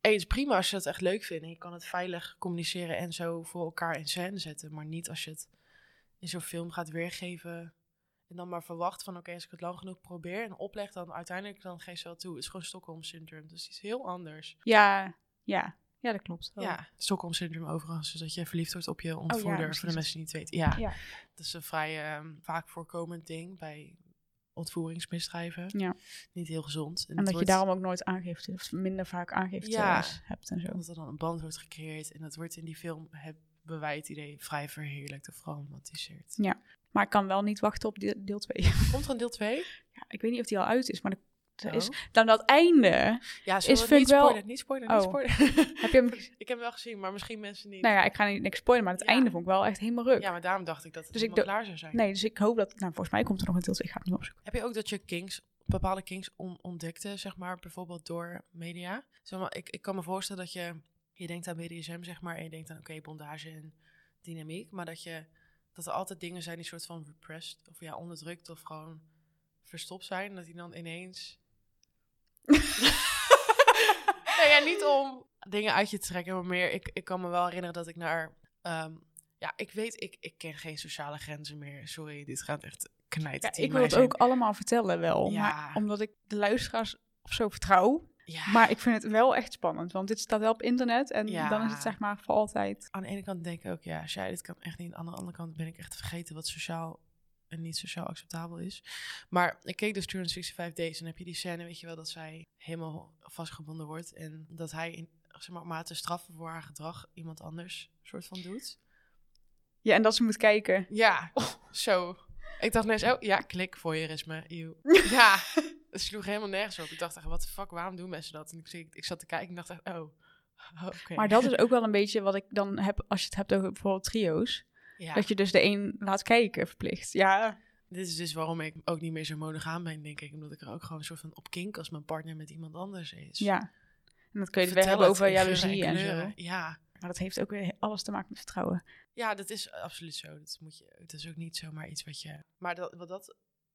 Hey, het is prima als je dat echt leuk vindt. En je kan het veilig communiceren en zo voor elkaar in scène zetten. Maar niet als je het in zo'n film gaat weergeven. En dan maar verwacht van oké, als ik het lang genoeg probeer en opleg, dan uiteindelijk dan geef ze wel toe. Het is gewoon Stockholm syndroom. Dus iets heel anders. Ja, ja. Ja, dat klopt. wel. Ja, Stockholm syndroom overigens. Dus dat je verliefd wordt op je Oh. ja, ontvoerder. voor precies. de mensen die het niet weten. Ja, Ja. dat is een vrij ehm, vaak voorkomend ding bij ontvoeringsmisdrijven. Ja. Niet heel gezond. En het dat je wordt- daarom ook nooit aangifte, of minder vaak aangifte Ja. eh, hebt en zo. Omdat er dan een band wordt gecreëerd. En dat wordt in die film, hebben wij het idee, vrij verheerlijkt of geromantiseerd. Maar ik kan wel niet wachten op de- deel 2. Komt er een deel 2? Ja, ik weet niet of die al uit is, maar er, er Oh. is... Dan dat einde. Ja, Is- zullen we vind niet ik wel- spoileren, niet spoileren, niet Oh. spoileren. Heb je hem... gez- ik heb hem wel gezien, maar misschien mensen niet. Nou ja, ik ga niet niks spoilen, maar het Ja. einde vond ik wel echt helemaal ruk. Ja, maar daarom dacht ik dat het Dus dus ik helemaal doe- klaar zou zijn. Nee, dus ik hoop dat... Nou, volgens mij komt er nog een deel 2. Ik ga het niet opzoeken. Heb je ook dat je kings, bepaalde kings on- ontdekte, zeg maar, bijvoorbeeld door media? Zeg maar, ik, ik kan me voorstellen dat je, je denkt aan BDSM, zeg maar, en je denkt aan, oké, bondage en dynamiek, maar dat je, dat er altijd dingen zijn die soort van repressed, of ja, onderdrukt, of gewoon verstopt zijn, dat die dan ineens... nou ja, niet om dingen uit je te trekken, maar meer, ik, ik kan me wel herinneren dat ik naar... ehm, ja, ik weet, ik, ik ken geen sociale grenzen meer. Sorry, dit gaat echt knijten. Ja, ik wil het ook allemaal vertellen wel. Ja. Maar omdat ik de luisteraars of zo vertrouw. Ja. Maar ik vind het wel echt spannend, want dit staat wel op internet. En Ja. dan is het zeg maar voor altijd... aan de ene kant denk ik ook, ja, zij, dit kan echt niet. Aan de andere kant ben ik echt vergeten wat sociaal en niet sociaal acceptabel is. Maar ik keek dus 365 Days en heb je die scène, weet je wel, dat zij helemaal vastgebonden wordt. En dat hij, in, zeg maar, op mate straffen voor haar gedrag iemand anders soort van doet. Ja, en dat ze moet kijken. Ja, Oh. zo. Ik dacht net, oh ja, klik, voyeurisme, eeuw. Ja, het sloeg helemaal nergens op. Ik dacht echt, wat de fuck, waarom doen mensen dat? En ik, ik, ik zat te kijken en dacht echt, oh, oké. Maar dat is ook wel een beetje wat ik dan heb als je het hebt over bijvoorbeeld trio's. ja. Dat je dus de een laat kijken verplicht. Ja, Dit is dus waarom ik ook niet meer zo monogaam ben, denk ik. Omdat ik er ook gewoon een soort van op kink als mijn partner met iemand anders is. ja. En dat kun je dus Vertel weer hebben het over in geuren jaloezie en zo. kleuren. Ja. Maar dat heeft ook weer alles te maken met vertrouwen. ja, dat is absoluut zo. Dat, moet je, dat is ook niet zomaar iets wat je... Maar dat, wat dat,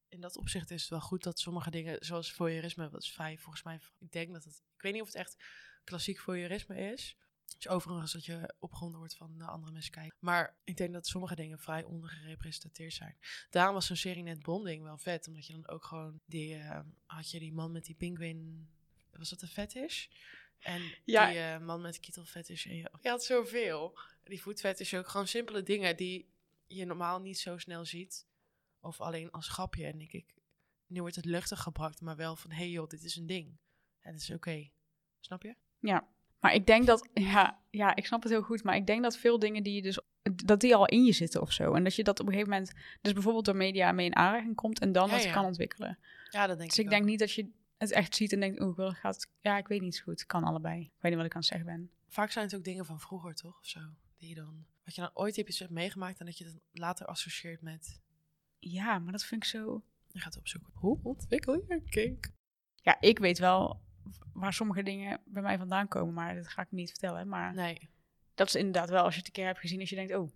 in dat opzicht is het wel goed dat sommige dingen, zoals voyeurisme, dat is vrij volgens mij... Ik denk dat het... Ik weet niet of het echt klassiek voyeurisme is. Dus overigens dat je opgewonden wordt van naar andere mensen kijken. Maar ik denk dat sommige dingen vrij ondergerepresenteerd zijn. Daarom was zo'n serie net Bonding wel vet. Omdat je dan ook gewoon die... eh, had je die man met die pinguïn... Was dat een fetish? En Ja. die eh, man met de kietelfetish. En je, je had zoveel. Die voetfetish ook. Gewoon simpele dingen die je normaal niet zo snel ziet. Of alleen als grapje. En ik, ik, nu wordt het luchtig gebracht. Maar wel van, hé hey joh, dit is een ding. En het is oké. Snap je? Maar ik denk dat, ja, ja, ik snap het heel goed. Maar ik denk dat veel dingen die je dus, dat die al in je zitten of zo. En dat je dat op een gegeven moment, dus bijvoorbeeld door media mee in aanraking komt en dan Ja, het ja. kan ontwikkelen. Ja, dat denk Dus ik ook. denk niet dat je het echt ziet en denkt, oeh, ik wil gaat, ja, ik weet niet zo goed. Het kan allebei. Ik weet niet wat ik aan het zeggen ben. Vaak zijn het ook dingen van vroeger, toch? Of zo. Die je dan... Wat je dan ooit hebt, iets hebt meegemaakt en dat je dat later associeert met... Ja, maar dat vind ik zo. Je gaat opzoeken. Hoe ontwikkel je een kink? Ja, ik weet wel waar sommige dingen bij mij vandaan komen, maar dat ga ik niet vertellen. Maar Nee. dat is inderdaad wel, als je het een keer hebt gezien, als je denkt, oh.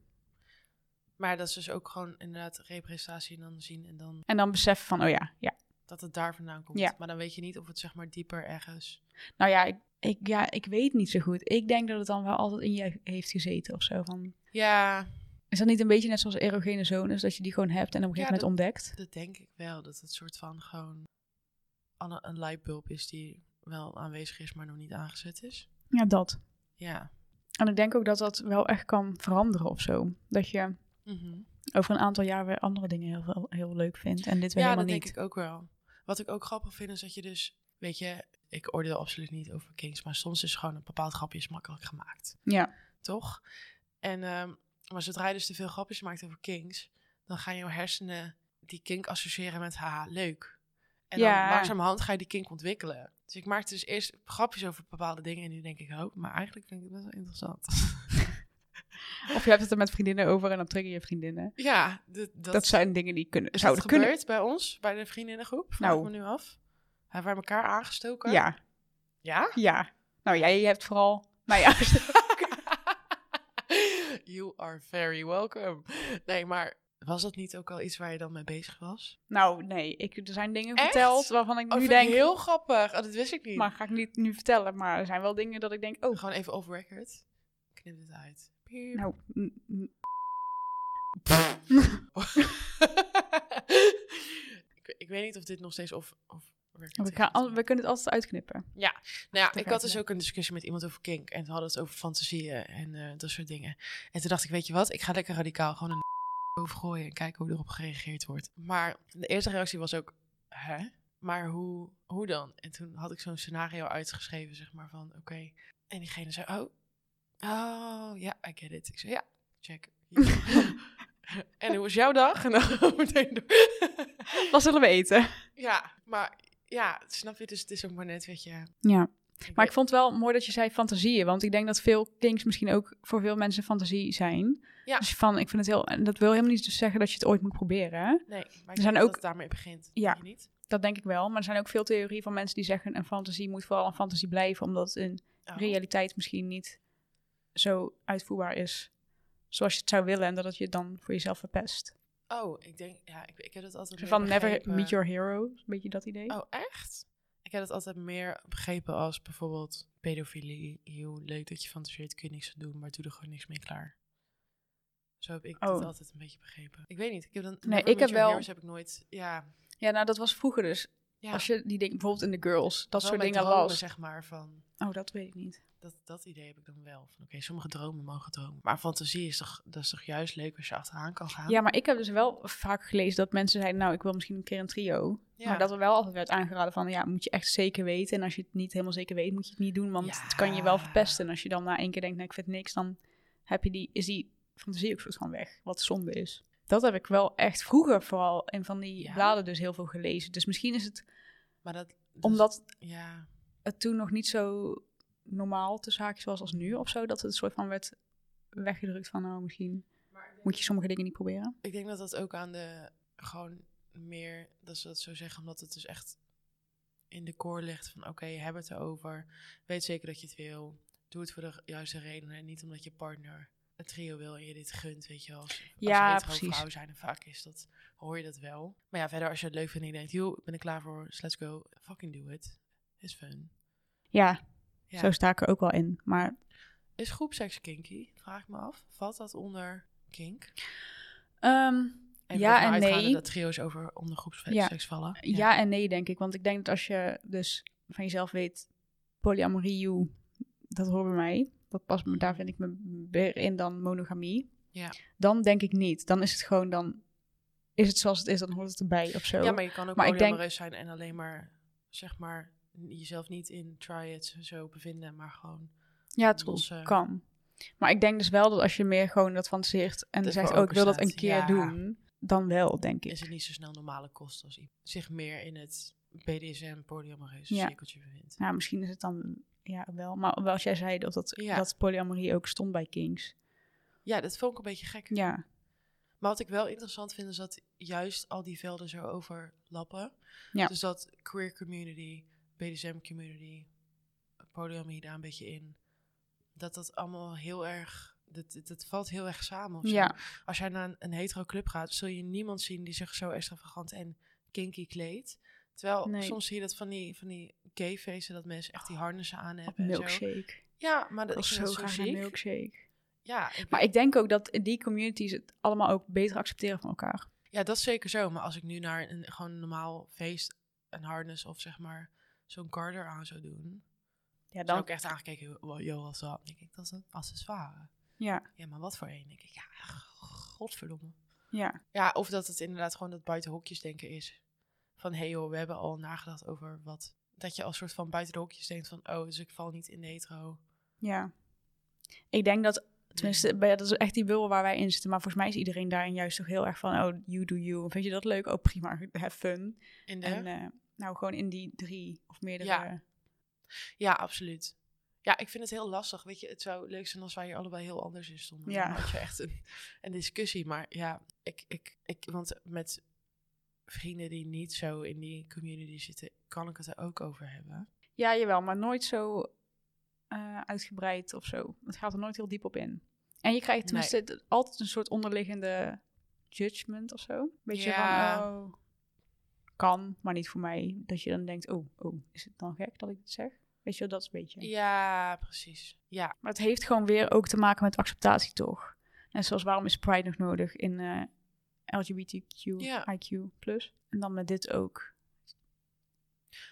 Maar dat is dus ook gewoon inderdaad representatie en dan zien en dan En dan beseffen van, oh ja, ja. dat het daar vandaan komt. Ja. Maar dan weet je niet of het zeg maar dieper ergens... Nou ja ik, ik, ja, ik weet niet zo goed. Ik denk dat het dan wel altijd in je heeft gezeten of zo. Van, Ja, is dat niet een beetje net zoals erogene zones, dat je die gewoon hebt en op een Ja, gegeven moment ontdekt? dat denk ik wel. Dat het soort van gewoon een, een lightbulb is die wel aanwezig is, maar nog niet aangezet is. Ja, dat. Ja. En ik denk ook dat dat wel echt kan veranderen of zo. Dat je Mhm. over een aantal jaar weer andere dingen heel, veel, heel leuk vindt. En dit weer Ja, dat helemaal niet. denk ik ook wel. Wat ik ook grappig vind is dat je dus, weet je, ik oordeel absoluut niet over Kings, maar soms is gewoon een bepaald grapje is makkelijk gemaakt, Ja. toch? En, ehm, maar zodra je dus te veel grapjes maakt over Kings, dan gaan jouw hersenen die kink associëren met haha, leuk. En Ja. dan langzamerhand ga je die kink ontwikkelen. Dus ik maakte dus eerst grapjes over bepaalde dingen en nu denk ik, oh, maar eigenlijk vind ik het best wel interessant. Of je hebt het er met vriendinnen over en dan trigger je vriendinnen. ja, dit- Dat, dat, zijn dingen die kunnen, is dat zouden kunnen. gebeurd bij ons, bij de vriendinnengroep? Vraag Nou. nou. me nu af. Hebben wij elkaar aangestoken? Ja, Ja? ja. Nou, jij hebt vooral Nou mij aangestoken. You are very welcome. Nee, maar was dat niet ook al iets waar je dan mee bezig was? Nou, nee. Ik, er zijn dingen Echt? verteld waarvan ik Oh, nu vind denk... ik heel grappig. Oh, dat wist ik niet. Maar ga ik niet nu vertellen. Maar er zijn wel dingen dat ik denk... Oh, Gewoon even off record. Knip dit uit. Piep. nou... n- n- ik, ik weet niet of dit nog steeds off, off record We, is. gaan Oh, al- we kunnen het altijd uitknippen. Nou ja, Even ik had dus uitleggen. ook een discussie met iemand over kink. En we hadden het over fantasieën en eh, dat soort dingen. En toen dacht ik, weet je wat? Ik ga lekker radicaal gewoon een over gooien en kijken hoe erop gereageerd wordt. Maar de eerste reactie was ook, hè? Maar hoe, hoe dan? En toen had ik zo'n scenario uitgeschreven, zeg maar, van oké. En diegene zei, oh, oh, ja, I get it. Ik zei, ja, check. en hoe was jouw dag? En dan meteen door. Dat zullen we eten. ja, maar ja, snap je? Dus het is ook maar net, weet je. Ja. Ik Maar ik vond het wel mooi dat je zei fantasieën. Want ik denk dat veel kinks misschien ook voor veel mensen fantasie zijn. Ja. Dus van, ik vind het heel... en Dat wil helemaal niet dus zeggen dat je het ooit moet proberen. hè? Nee, maar Er ik zijn zijn ook- dat het daarmee begint. Ja. Ja. niet? Dat denk ik wel. Maar er zijn ook veel theorieën van mensen die zeggen... een fantasie moet vooral een fantasie blijven. Omdat het in Oh. realiteit misschien niet zo uitvoerbaar is. Zoals je het zou willen. En dat het je dan voor jezelf verpest. Oh, ik denk, ja, ik, ik heb het altijd Zo meer van never begrepen- meet your hero. Een beetje dat idee. Oh, echt? Ik heb het altijd meer begrepen als bijvoorbeeld pedofilie. Heel leuk dat je fantaseert, kun je niks aan doen, maar doe er gewoon niks mee klaar. Zo heb ik het Oh. altijd een beetje begrepen. Ik weet niet, ik heb dan... ik heb wel- heb ik nooit, ja... Ja, nou dat was vroeger dus. ja Als je die dingen, bijvoorbeeld in The Girls, wel dat soort bij dingen dromen, las. zeg maar, van... Oh, dat weet ik niet. Dat, dat idee heb ik dan wel. Van oké, sommige dromen mogen dromen. Maar fantasie is toch, dat is toch juist leuk als je achteraan kan gaan? Ja, maar ik heb dus wel vaak gelezen dat mensen zeiden, nou, ik wil misschien een keer een trio. Ja. Maar dat er wel altijd werd aangeraden van, ja, moet je echt zeker weten. En als je het niet helemaal zeker weet, moet je het niet doen, want het kan je wel Ja. verpesten. En als je dan na één keer denkt, nou, ik vind niks, dan heb je die, is die fantasie ook soort van weg, wat zonde is. Dat heb ik wel echt vroeger vooral in van die Ja. bladen dus heel veel gelezen. Dus misschien is het Maar dat... dat- omdat Ja. het toen nog niet zo normaal te zaakjes was als nu of zo, dat het soort van werd weggedrukt van, nou, misschien moet je sommige dingen niet proberen. Ik denk dat dat ook aan de gewoon meer, dat ze dat zo zeggen, omdat het dus echt in de koor ligt van oké, heb het erover. Weet zeker dat je het wil. Doe het voor de juiste redenen en niet omdat je partner het trio wil en je dit gunt, weet je wel. Als, als Ja, hetero precies. vrouw zijn, dan vaak is dat, hoor je dat wel. Maar ja, verder als je het leuk vindt en je denkt, joh, ik ben er klaar voor, let's go, fucking do it. Is fun. Ja, Ja. zo sta ik er ook wel in. Maar Is groepseks kinky? Vraag ik me af. Valt dat onder kink? ehm, Even Ja ervan en uitgaande nee. nou dat trio's over onder groepseks Ja. vallen. ja. en nee, denk ik. Want ik denk dat als je dus van jezelf weet, polyamorie, joe, dat hoort bij mij. Dat past me, daar vind ik me meer in dan monogamie. Ja. Dan denk ik niet. Dan is het gewoon, dan is het zoals het is, dan hoort het erbij of zo. Ja, maar je kan ook Maar ik denk- polyamoreus zijn en alleen maar, zeg maar, jezelf niet in try-it zo bevinden, maar gewoon... Ja, het Los, eh. kan. Maar ik denk dus wel dat als je meer gewoon dat fantaseert en is zegt, voor oh, ik wil dat een openstaat, keer ja. doen, dan wel, denk ik. Is het niet zo snel normale kost als iemand zich meer in het BDSM polyamoreus Ja. cirkeltje bevindt? Nou, misschien is het dan ja, wel. Maar wel als jij zei dat, dat, Ja. dat polyamorie ook stond bij Kings. Ja, dat vond ik een beetje gek. Ja. Maar wat ik wel interessant vind, is dat juist al die velden zo overlappen. Ja. Dus dat queer community, BDSM community, polyamorie daar een beetje in. Dat dat allemaal heel erg... Dat, dat, dat valt heel erg samen of zo. ja. als jij naar een, een hetero club gaat, zul je niemand zien die zich zo extravagant en kinky kleedt. Terwijl Nee. soms zie je dat van die, van die gay feesten, dat mensen echt die harnessen aan Op hebben. en zo. milkshake. Ja, maar dat Ik wil is zo zo, zo graag een ziek. milkshake. Ja, ik- Maar ik denk ook dat die communities het allemaal ook beter accepteren van elkaar. ja, dat is zeker zo. Maar als ik nu naar een gewoon een normaal feest een harness of zeg maar zo'n garter aan zou doen, Ja, dan dan. zou ik echt aangekeken, wow, yo, wat is dat? Dan denk ik, dat is een accessoire. Ja. Ja, maar wat voor een? Denk ik, ja, godverdomme. Ja. Ja, of dat het inderdaad gewoon dat buiten hokjes denken is. Van, hé hey joh, we hebben al nagedacht over wat... Dat je als soort van buiten de hokjes denkt van, oh, dus ik val niet in de hetero. Ja. Ik denk dat, tenminste, bij- dat is echt die bubbel waar wij in zitten. Maar volgens mij is iedereen daarin juist toch heel erg van, oh, you do you. Vind je dat leuk? Oh, prima, have fun. In de... En eh, nou, gewoon in die drie of meerdere. Ja. Ja, absoluut. Ja, ik vind het heel lastig. Weet je, het zou leuk zijn als wij hier allebei heel anders in stonden. Ja. Dan had je echt een, een discussie. Maar ja, ik, ik, ik, want met vrienden die niet zo in die community zitten, kan ik het er ook over hebben. Ja, jawel, maar nooit zo eh, uitgebreid of zo. Het gaat er nooit heel diep op in. En je krijgt Nee. tenminste het- altijd een soort onderliggende judgment of zo. Beetje Ja. van, oh, kan, maar niet voor mij. Dat je dan denkt, oh, oh, is het dan gek dat ik dit zeg? Weet je, wel, dat is een beetje. Ja, precies. Ja, Maar het heeft gewoon weer ook te maken met acceptatie, toch? En zoals waarom is Pride nog nodig in eh LGBTQ, Ja. IQ+. En dan met dit ook.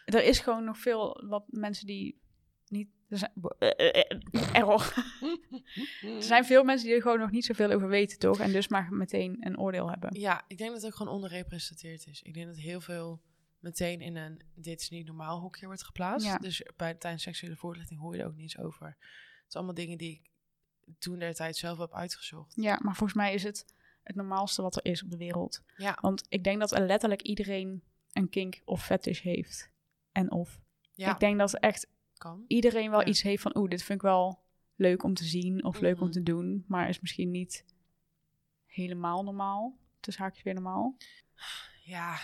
Er is gewoon nog veel wat mensen die niet... Er zijn, bo- eh, eh, eh, error. Er zijn veel mensen die er gewoon nog niet zoveel over weten, toch? En dus maar meteen een oordeel hebben. ja, ik denk dat het ook gewoon onderrepresenteerd is. Ik denk dat heel veel meteen in een dit is niet normaal hokje wordt geplaatst. Ja. Dus bij, tijdens seksuele voorlichting hoor je er ook niets over. Het zijn allemaal dingen die ik toen der tijd zelf heb uitgezocht. Ja, maar volgens mij is het het normaalste wat er is op de wereld. Ja, Want ik denk dat er letterlijk iedereen een kink of fetish heeft. En of. ja Ik denk dat echt kan. iedereen wel Ja. iets heeft van, oeh, dit vind ik wel leuk om te zien of leuk om Mhm. te doen, maar is misschien niet helemaal normaal. Tussen haakjes weer normaal. Ja,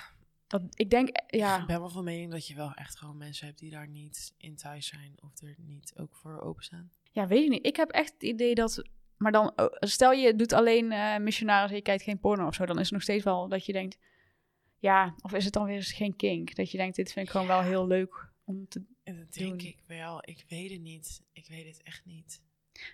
Dat, ik denk, eh, ik ja, ben wel van mening dat je wel echt gewoon mensen hebt die daar niet in thuis zijn of er niet ook voor openstaan. ja, weet ik niet. Ik heb echt het idee dat, maar dan, oh, stel je doet alleen eh missionaris en je kijkt geen porno of zo, dan is het nog steeds wel dat je denkt, ja, of is het dan weer eens geen kink? Dat je denkt, dit vind ik gewoon wel heel leuk om te... En dat denk Doen. ik wel. Ik weet het niet. Ik weet het echt niet.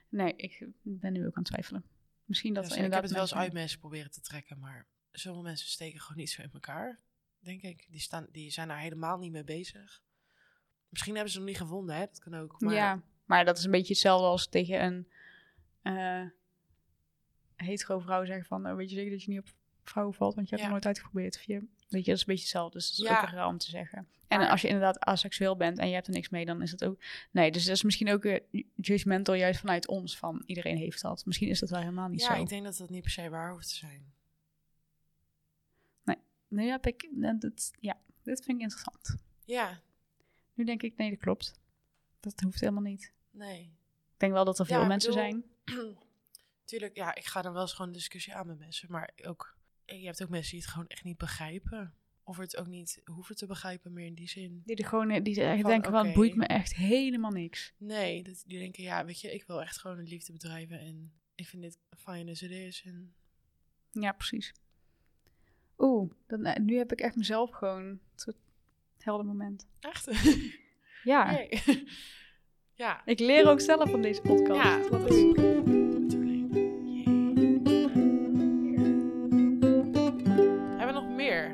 Nee, ik ben nu ook aan het twijfelen. Misschien dat Ja, er ik heb inderdaad het wel eens mensen- uit mensen proberen te trekken, maar sommige mensen steken gewoon niet zo in elkaar. Denk ik. Die, staan, die zijn daar helemaal niet mee bezig. Misschien hebben ze hem niet gevonden, hè? Dat kan ook. Maar Ja, maar dat is een beetje hetzelfde als tegen een eh hetero vrouw zeggen van... eh, weet je zeker dat je niet op vrouwen valt, want je hebt Ja. het nooit uitgeprobeerd. Of je, weet je, dat is een beetje hetzelfde, dus dat is Ja. ook raar om te zeggen. En als je inderdaad asexueel bent en je hebt er niks mee, dan is dat ook... Nee, dus dat is misschien ook eh, judgmental juist vanuit ons, van iedereen heeft dat. Misschien is dat wel helemaal niet ja zo. ik denk dat dat niet per se waar hoeft te zijn. Nu heb ik... eh, dat, ja, dit vind ik interessant. Ja, Nu denk ik, nee, dat klopt. Dat hoeft helemaal niet. nee. Ik denk wel dat er Ja, veel ik mensen bedoel, zijn. Tuurlijk, ja, ik ga dan wel eens gewoon een discussie aan met mensen. Maar ook, eh, je hebt ook mensen die het gewoon echt niet begrijpen. Of het ook niet hoeven te begrijpen meer in die zin. Die er gewoon, eh, die echt Van, denken van, het oké. boeit me echt helemaal niks. Nee, dat, die denken, ja, weet je, ik wil echt gewoon een liefde bedrijven. En ik vind dit fijn as it is. En Ja, precies. Oeh, dan, eh, nu heb ik echt mezelf gewoon een soort helder moment. echt. Ja, Nee. ja, ik leer ook zelf van deze podcast. Ja, Wat dat is- leuk. natuurlijk. Jee. Hebben we nog meer?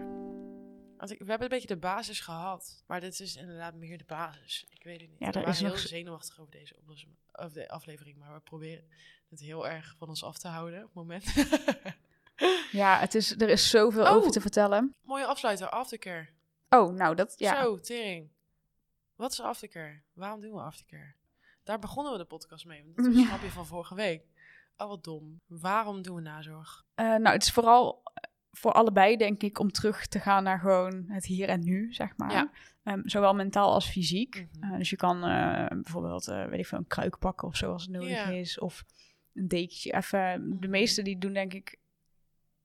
Want ik, we hebben een beetje de basis gehad. Maar dit is inderdaad meer de basis. Ik weet het niet. Ja, we er waren is heel nog- zenuwachtig over deze oplossing, of de aflevering. Maar we proberen het heel erg van ons af te houden op het moment. Ja, het is, er is zoveel Oh. over te vertellen. Mooie afsluiter, aftercare. Oh, nou dat, ja. Zo, tering. Wat is aftercare? Waarom doen we aftercare? Daar begonnen we de podcast mee. want Dat was een grapje van vorige week. Oh, wat dom. Waarom doen we nazorg? Eh, nou, het is vooral eh, voor allebei, denk ik, om terug te gaan naar gewoon het hier en nu, zeg maar. Ja. Ehm, zowel mentaal als fysiek. Mhm. Eh, dus je kan eh, bijvoorbeeld, eh, weet ik veel, een kruik pakken of zo als het nodig Ja. is. Of een dekentje even. De Mhm. meesten die doen denk ik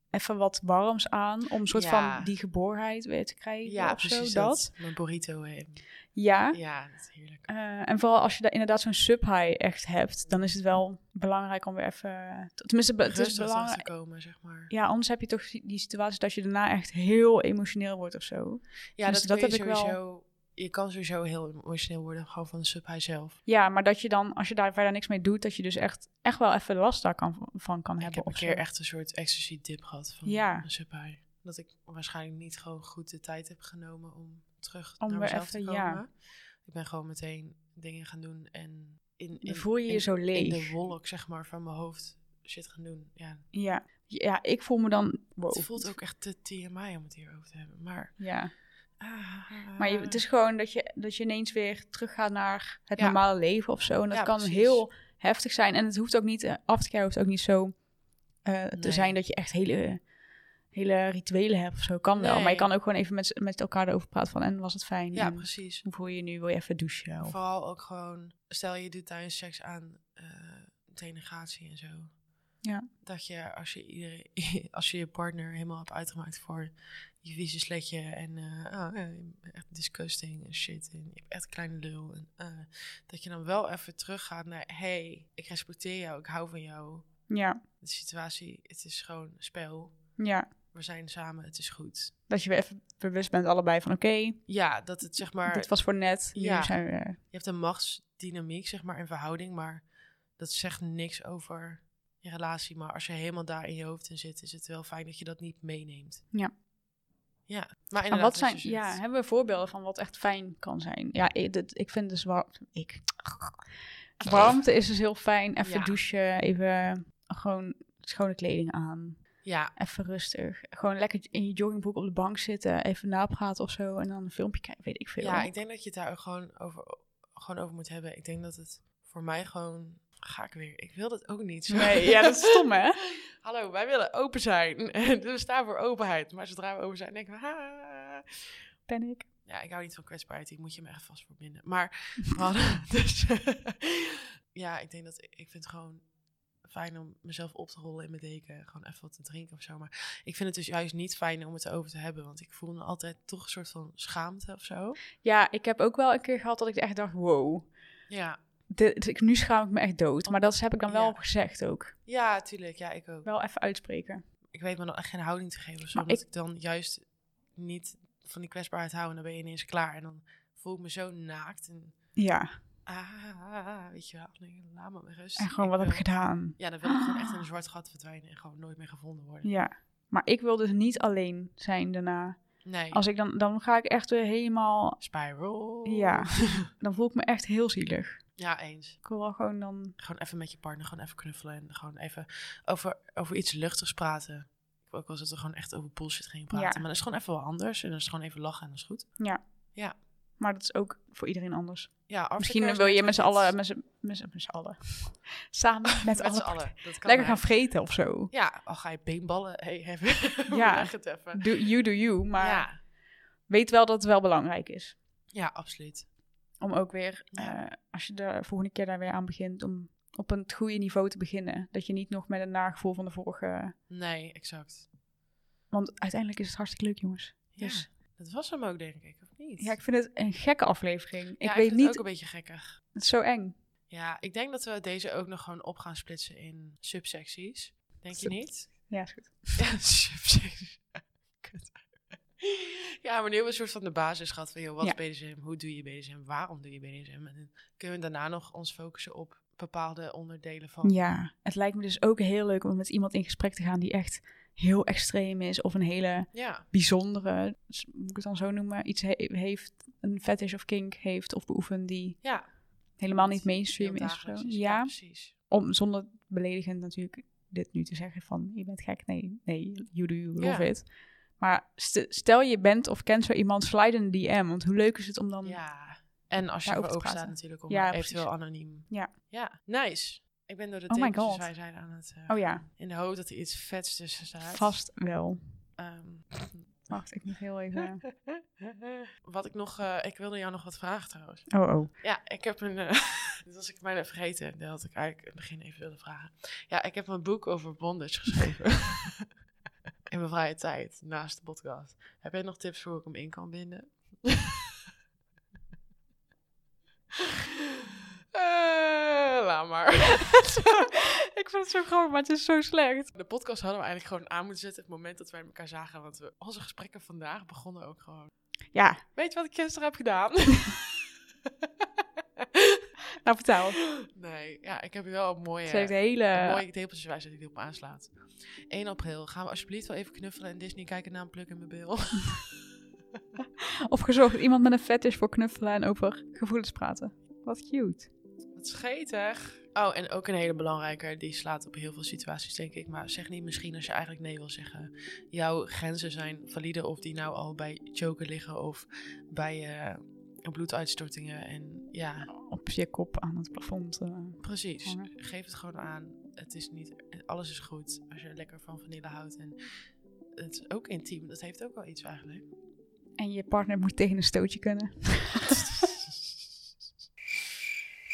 even wat warms aan om een soort Ja. van die geboorheid weer te krijgen of zo. Dat. Mijn burrito heen. Ja. Ja, dat is heerlijk. Eh, en vooral als je daar inderdaad zo'n sub-high echt hebt, dan is het wel belangrijk om weer even... Tenminste, be- het is Rustig terug belangrijk, te komen, zeg maar. ja, anders heb je toch die situatie dat je daarna echt heel emotioneel wordt of zo. Ja, dus dat, dat kun je heb ik wel. sowieso... Je kan sowieso heel emotioneel worden, gewoon van de subhigh zelf. Ja, maar dat je dan, als je daar verder niks mee doet, dat je dus echt, echt wel even last daar kan, van kan Ik hebben. heb een of zo. keer echt een soort ecstasy-dip gehad van Ja. een subhigh. Dat ik waarschijnlijk niet gewoon goed de tijd heb genomen om terug Om naar weer mezelf te even, komen. ja. Ik ben gewoon meteen dingen gaan doen en in, Dan in, voel je je in- zo in leeg. de wolk, zeg maar, van mijn hoofd shit gaan doen. Ja, Ja. Ja, ik voel me dan... wow. Het voelt ook echt te TMI om het hierover te hebben. Maar, Ja, ah, maar je, het is gewoon dat je, dat je ineens weer teruggaat naar het Ja. normale leven of zo. En dat Ja, kan precies. heel heftig zijn. En het hoeft ook niet, eh, aftercare hoeft ook niet zo eh, te Nee. zijn dat je echt hele, hele rituelen hebt of zo. Kan wel, maar Nee. je kan ook gewoon even met, met elkaar erover praten van en was het fijn? Ja, En precies. hoe voel je je nu? Wil je even douchen? Of, Vooral ook gewoon, stel je doet tijdens seks aan eh denegatie en zo. Ja. Dat je als je, iedereen, als je je partner helemaal hebt uitgemaakt voor je vieze sletje en eh, oh, eh, je bent echt disgusting en shit en je hebt echt een kleine lul. En, eh, dat je dan wel even teruggaat naar, hey, ik respecteer jou, ik hou van jou. ja, De situatie, het is gewoon spel. ja, We zijn samen, het is goed. dat je weer even bewust bent allebei van oké, Ja, dat het zeg maar... dit was voor net. Ja. Ja. zijn we... je hebt een machtsdynamiek, zeg maar, in verhouding, maar dat zegt niks over je relatie. Maar als je helemaal daar in je hoofd in zit, is het wel fijn dat je dat niet meeneemt. Ja. Ja, maar En inderdaad, wat wat zijn, je zegt. ja, hebben we voorbeelden van wat echt fijn kan zijn? Ja, ik, dit- ik vind dus warmte, ik. Warmte is dus heel fijn. Even Ja. douchen, even gewoon schone kleding aan. ja, Even rustig. Gewoon lekker in je joggingbroek op de bank zitten. Even napraten of zo. En dan een filmpje kijken, weet ik veel. ja, ik denk dat je het daar ook gewoon over, gewoon over moet hebben. Ik denk dat het voor mij gewoon... Ga ik weer. Ik wil dat ook niet. zo. Nee, ja, dat is stom, hè? Hallo, wij willen open zijn. dus we staan voor openheid. Maar zodra we open zijn, denken we... "Ah." Ben ik. Ja, ik hou niet van kwetsbaarheid. Ik moet je me echt vast verbinden. Maar we hadden dus... ja, ik denk dat... Ik vind het gewoon fijn om mezelf op te rollen in mijn deken. Gewoon even wat te drinken of zo. Maar ik vind het dus juist niet fijn om het erover te hebben. Want ik voel me altijd toch een soort van schaamte of zo. Ja, ik heb ook wel een keer gehad dat ik echt dacht, wow. Ja. Dit, ik- nu schaam ik me echt dood. Maar dat heb ik dan wel Ja. gezegd ook. Ja, tuurlijk. Ja, ik ook. Wel even uitspreken. Ik weet me dan echt geen houding te geven of zo. Maar Omdat ik- ik... dan juist niet van die kwetsbaarheid hou. En dan ben je ineens klaar. En dan voel ik me zo naakt. En Ja, ah, weet je wel. Nee, laat me met rust. en gewoon wat heb wil- Dus ik gedaan? Ja, dan wil ik gewoon echt in een zwart gat verdwijnen en gewoon nooit meer gevonden worden. Ja, maar ik wil dus niet alleen zijn daarna. Nee, Als ik dan, dan ga ik echt weer helemaal, spiral. Ja. dan voel ik me echt heel zielig. ja, eens. Ik wil wel gewoon dan, Gewoon even met je partner, gewoon even knuffelen en gewoon even over, over iets luchtigs praten. Ik wou ook wel eens dat we gewoon echt over bullshit gingen praten. Ja. Maar dat is gewoon even wel anders en dan is het gewoon even lachen en dat is goed. maar dat is ook voor iedereen anders. Ja, aftercare Misschien is wil je natuurlijk met z'n iets- allen, met z'n, met z'n, met z'n allen, samen met, met z'n alle allen. partijen. Dat kan lekker hè. gaan vreten of zo. Ja, al ga je beenballen hey, hebben. Ja. Ja. Leg het even. Do, you do you, maar Ja. weet wel dat het wel belangrijk is. ja, absoluut. Om ook weer, Ja. eh, als je de volgende keer daar weer aan begint, om op een het goede niveau te beginnen. Dat je niet nog met een nagevoel van de vorige... Nee, exact. Want uiteindelijk is het hartstikke leuk, jongens. Ja, Dus- dat was hem ook, denk ik, of niet? Ja, ik vind het een gekke aflevering. Ja, ik weet vind niet, het ook een beetje gekkig. het is zo eng. Ja, ik denk dat we deze ook nog gewoon op gaan splitsen in subsecties. Denk je Sub- niet? Ja, is goed. Ja, subsecties. Kut. Ja, maar nu hebben we een soort van de basis gehad van, joh, wat Ja. is BDSM? Hoe doe je BDSM? Waarom doe je BDSM? En dan kunnen we daarna nog ons focussen op bepaalde onderdelen van... Ja, het lijkt me dus ook heel leuk om met iemand in gesprek te gaan die echt heel extreem is of een hele Ja, bijzondere, s- moet ik het dan zo noemen, iets he- heeft, een fetish of kink heeft of beoefent die ja. helemaal Wat niet mainstream heel is. of zo. dagelijks is. Ja, precies. om, zonder beledigend natuurlijk dit nu te zeggen van je bent gek, nee, nee, you do, you love Ja. it. Maar st- stel je bent of kent zo iemand, slide een DM, want hoe leuk is het om dan... Ja, en als je daarover voor te open staat praten. natuurlijk om Ja, eventueel precies. anoniem. Ja. Ja, nice. Ik ben door de Oh my tepels, dus God. wij zijn aan het... eh, Oh ja, In de hoop dat er iets vets tussen staat. vast wel. Ehm, Wacht, ik moet heel even... Wat ik nog, eh, ik wilde jou nog wat vragen trouwens. Oh, oh. Ja, ik heb een, eh, dit was ik bijna vergeten, dat had ik eigenlijk in het begin even wilde vragen. Ja, ik heb een boek over bondage geschreven. in mijn vrije tijd, naast de podcast. Heb jij nog tips voor hoe ik hem in kan binden? Eh, laat maar. ik vind het zo grappig, maar het is zo slecht. De podcast hadden we eigenlijk gewoon aan moeten zetten op het moment dat wij elkaar zagen. Want we, onze gesprekken vandaag begonnen ook gewoon. Ja, Weet je wat ik gisteren heb gedaan? nou vertel. nee, ja, ik heb hier wel een mooie, Ze heeft een hele... mooie tepeltjeswijze die erop aanslaat. 1 april gaan we alsjeblieft wel even knuffelen en Disney kijken naar een pluk in mijn bil. Of gezorgd iemand met een fetish voor knuffelen en over gevoelens praten. Wat cute. Wat scheetig. Oh, en ook een hele belangrijke, die slaat op heel veel situaties, denk ik. Maar zeg niet misschien als je eigenlijk nee wil zeggen. Jouw grenzen zijn valide, of die nou al bij choken liggen of bij eh, bloeduitstortingen. En ja, Op je kop aan het plafond. eh. Precies. Hangen. Geef het gewoon aan. Het is niet, alles is goed als je er lekker van vanille houdt. En het is ook intiem. Dat heeft ook wel iets eigenlijk. En je partner moet tegen een stootje kunnen.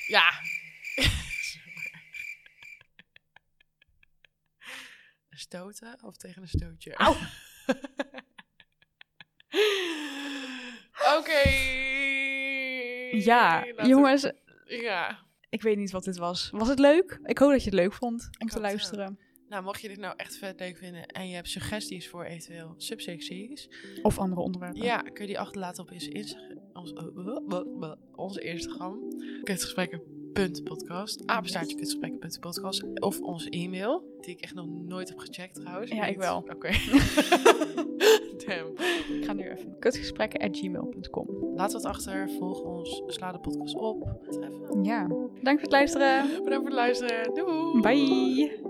ja. Stoten of tegen een stootje? Au. Oké. Ja, Laten we- jongens, Ja. ik weet niet wat dit was. Was het leuk? Ik hoop dat je het leuk vond om hoop te het luisteren. Nou, mocht je dit nou echt vet leuk vinden en je hebt suggesties voor eventueel subsecties, Of andere onderwerpen. Ja, kun je die achterlaten op onze Instagram. Ons, eh, onze Instagram. Kutgesprekken.podcast. Apenstaartje kutgesprekken.podcast. Of onze e-mail. Die ik echt nog nooit heb gecheckt trouwens. Ja, Niet. ik wel. Oké. Damn. Ik ga nu even. Kutgesprekken at gmail.com. Laat wat achter. Volg ons. Sla de podcast op. Wat betreft. Ja. Bedankt voor het luisteren. Bedankt voor het luisteren. Doei. Bye.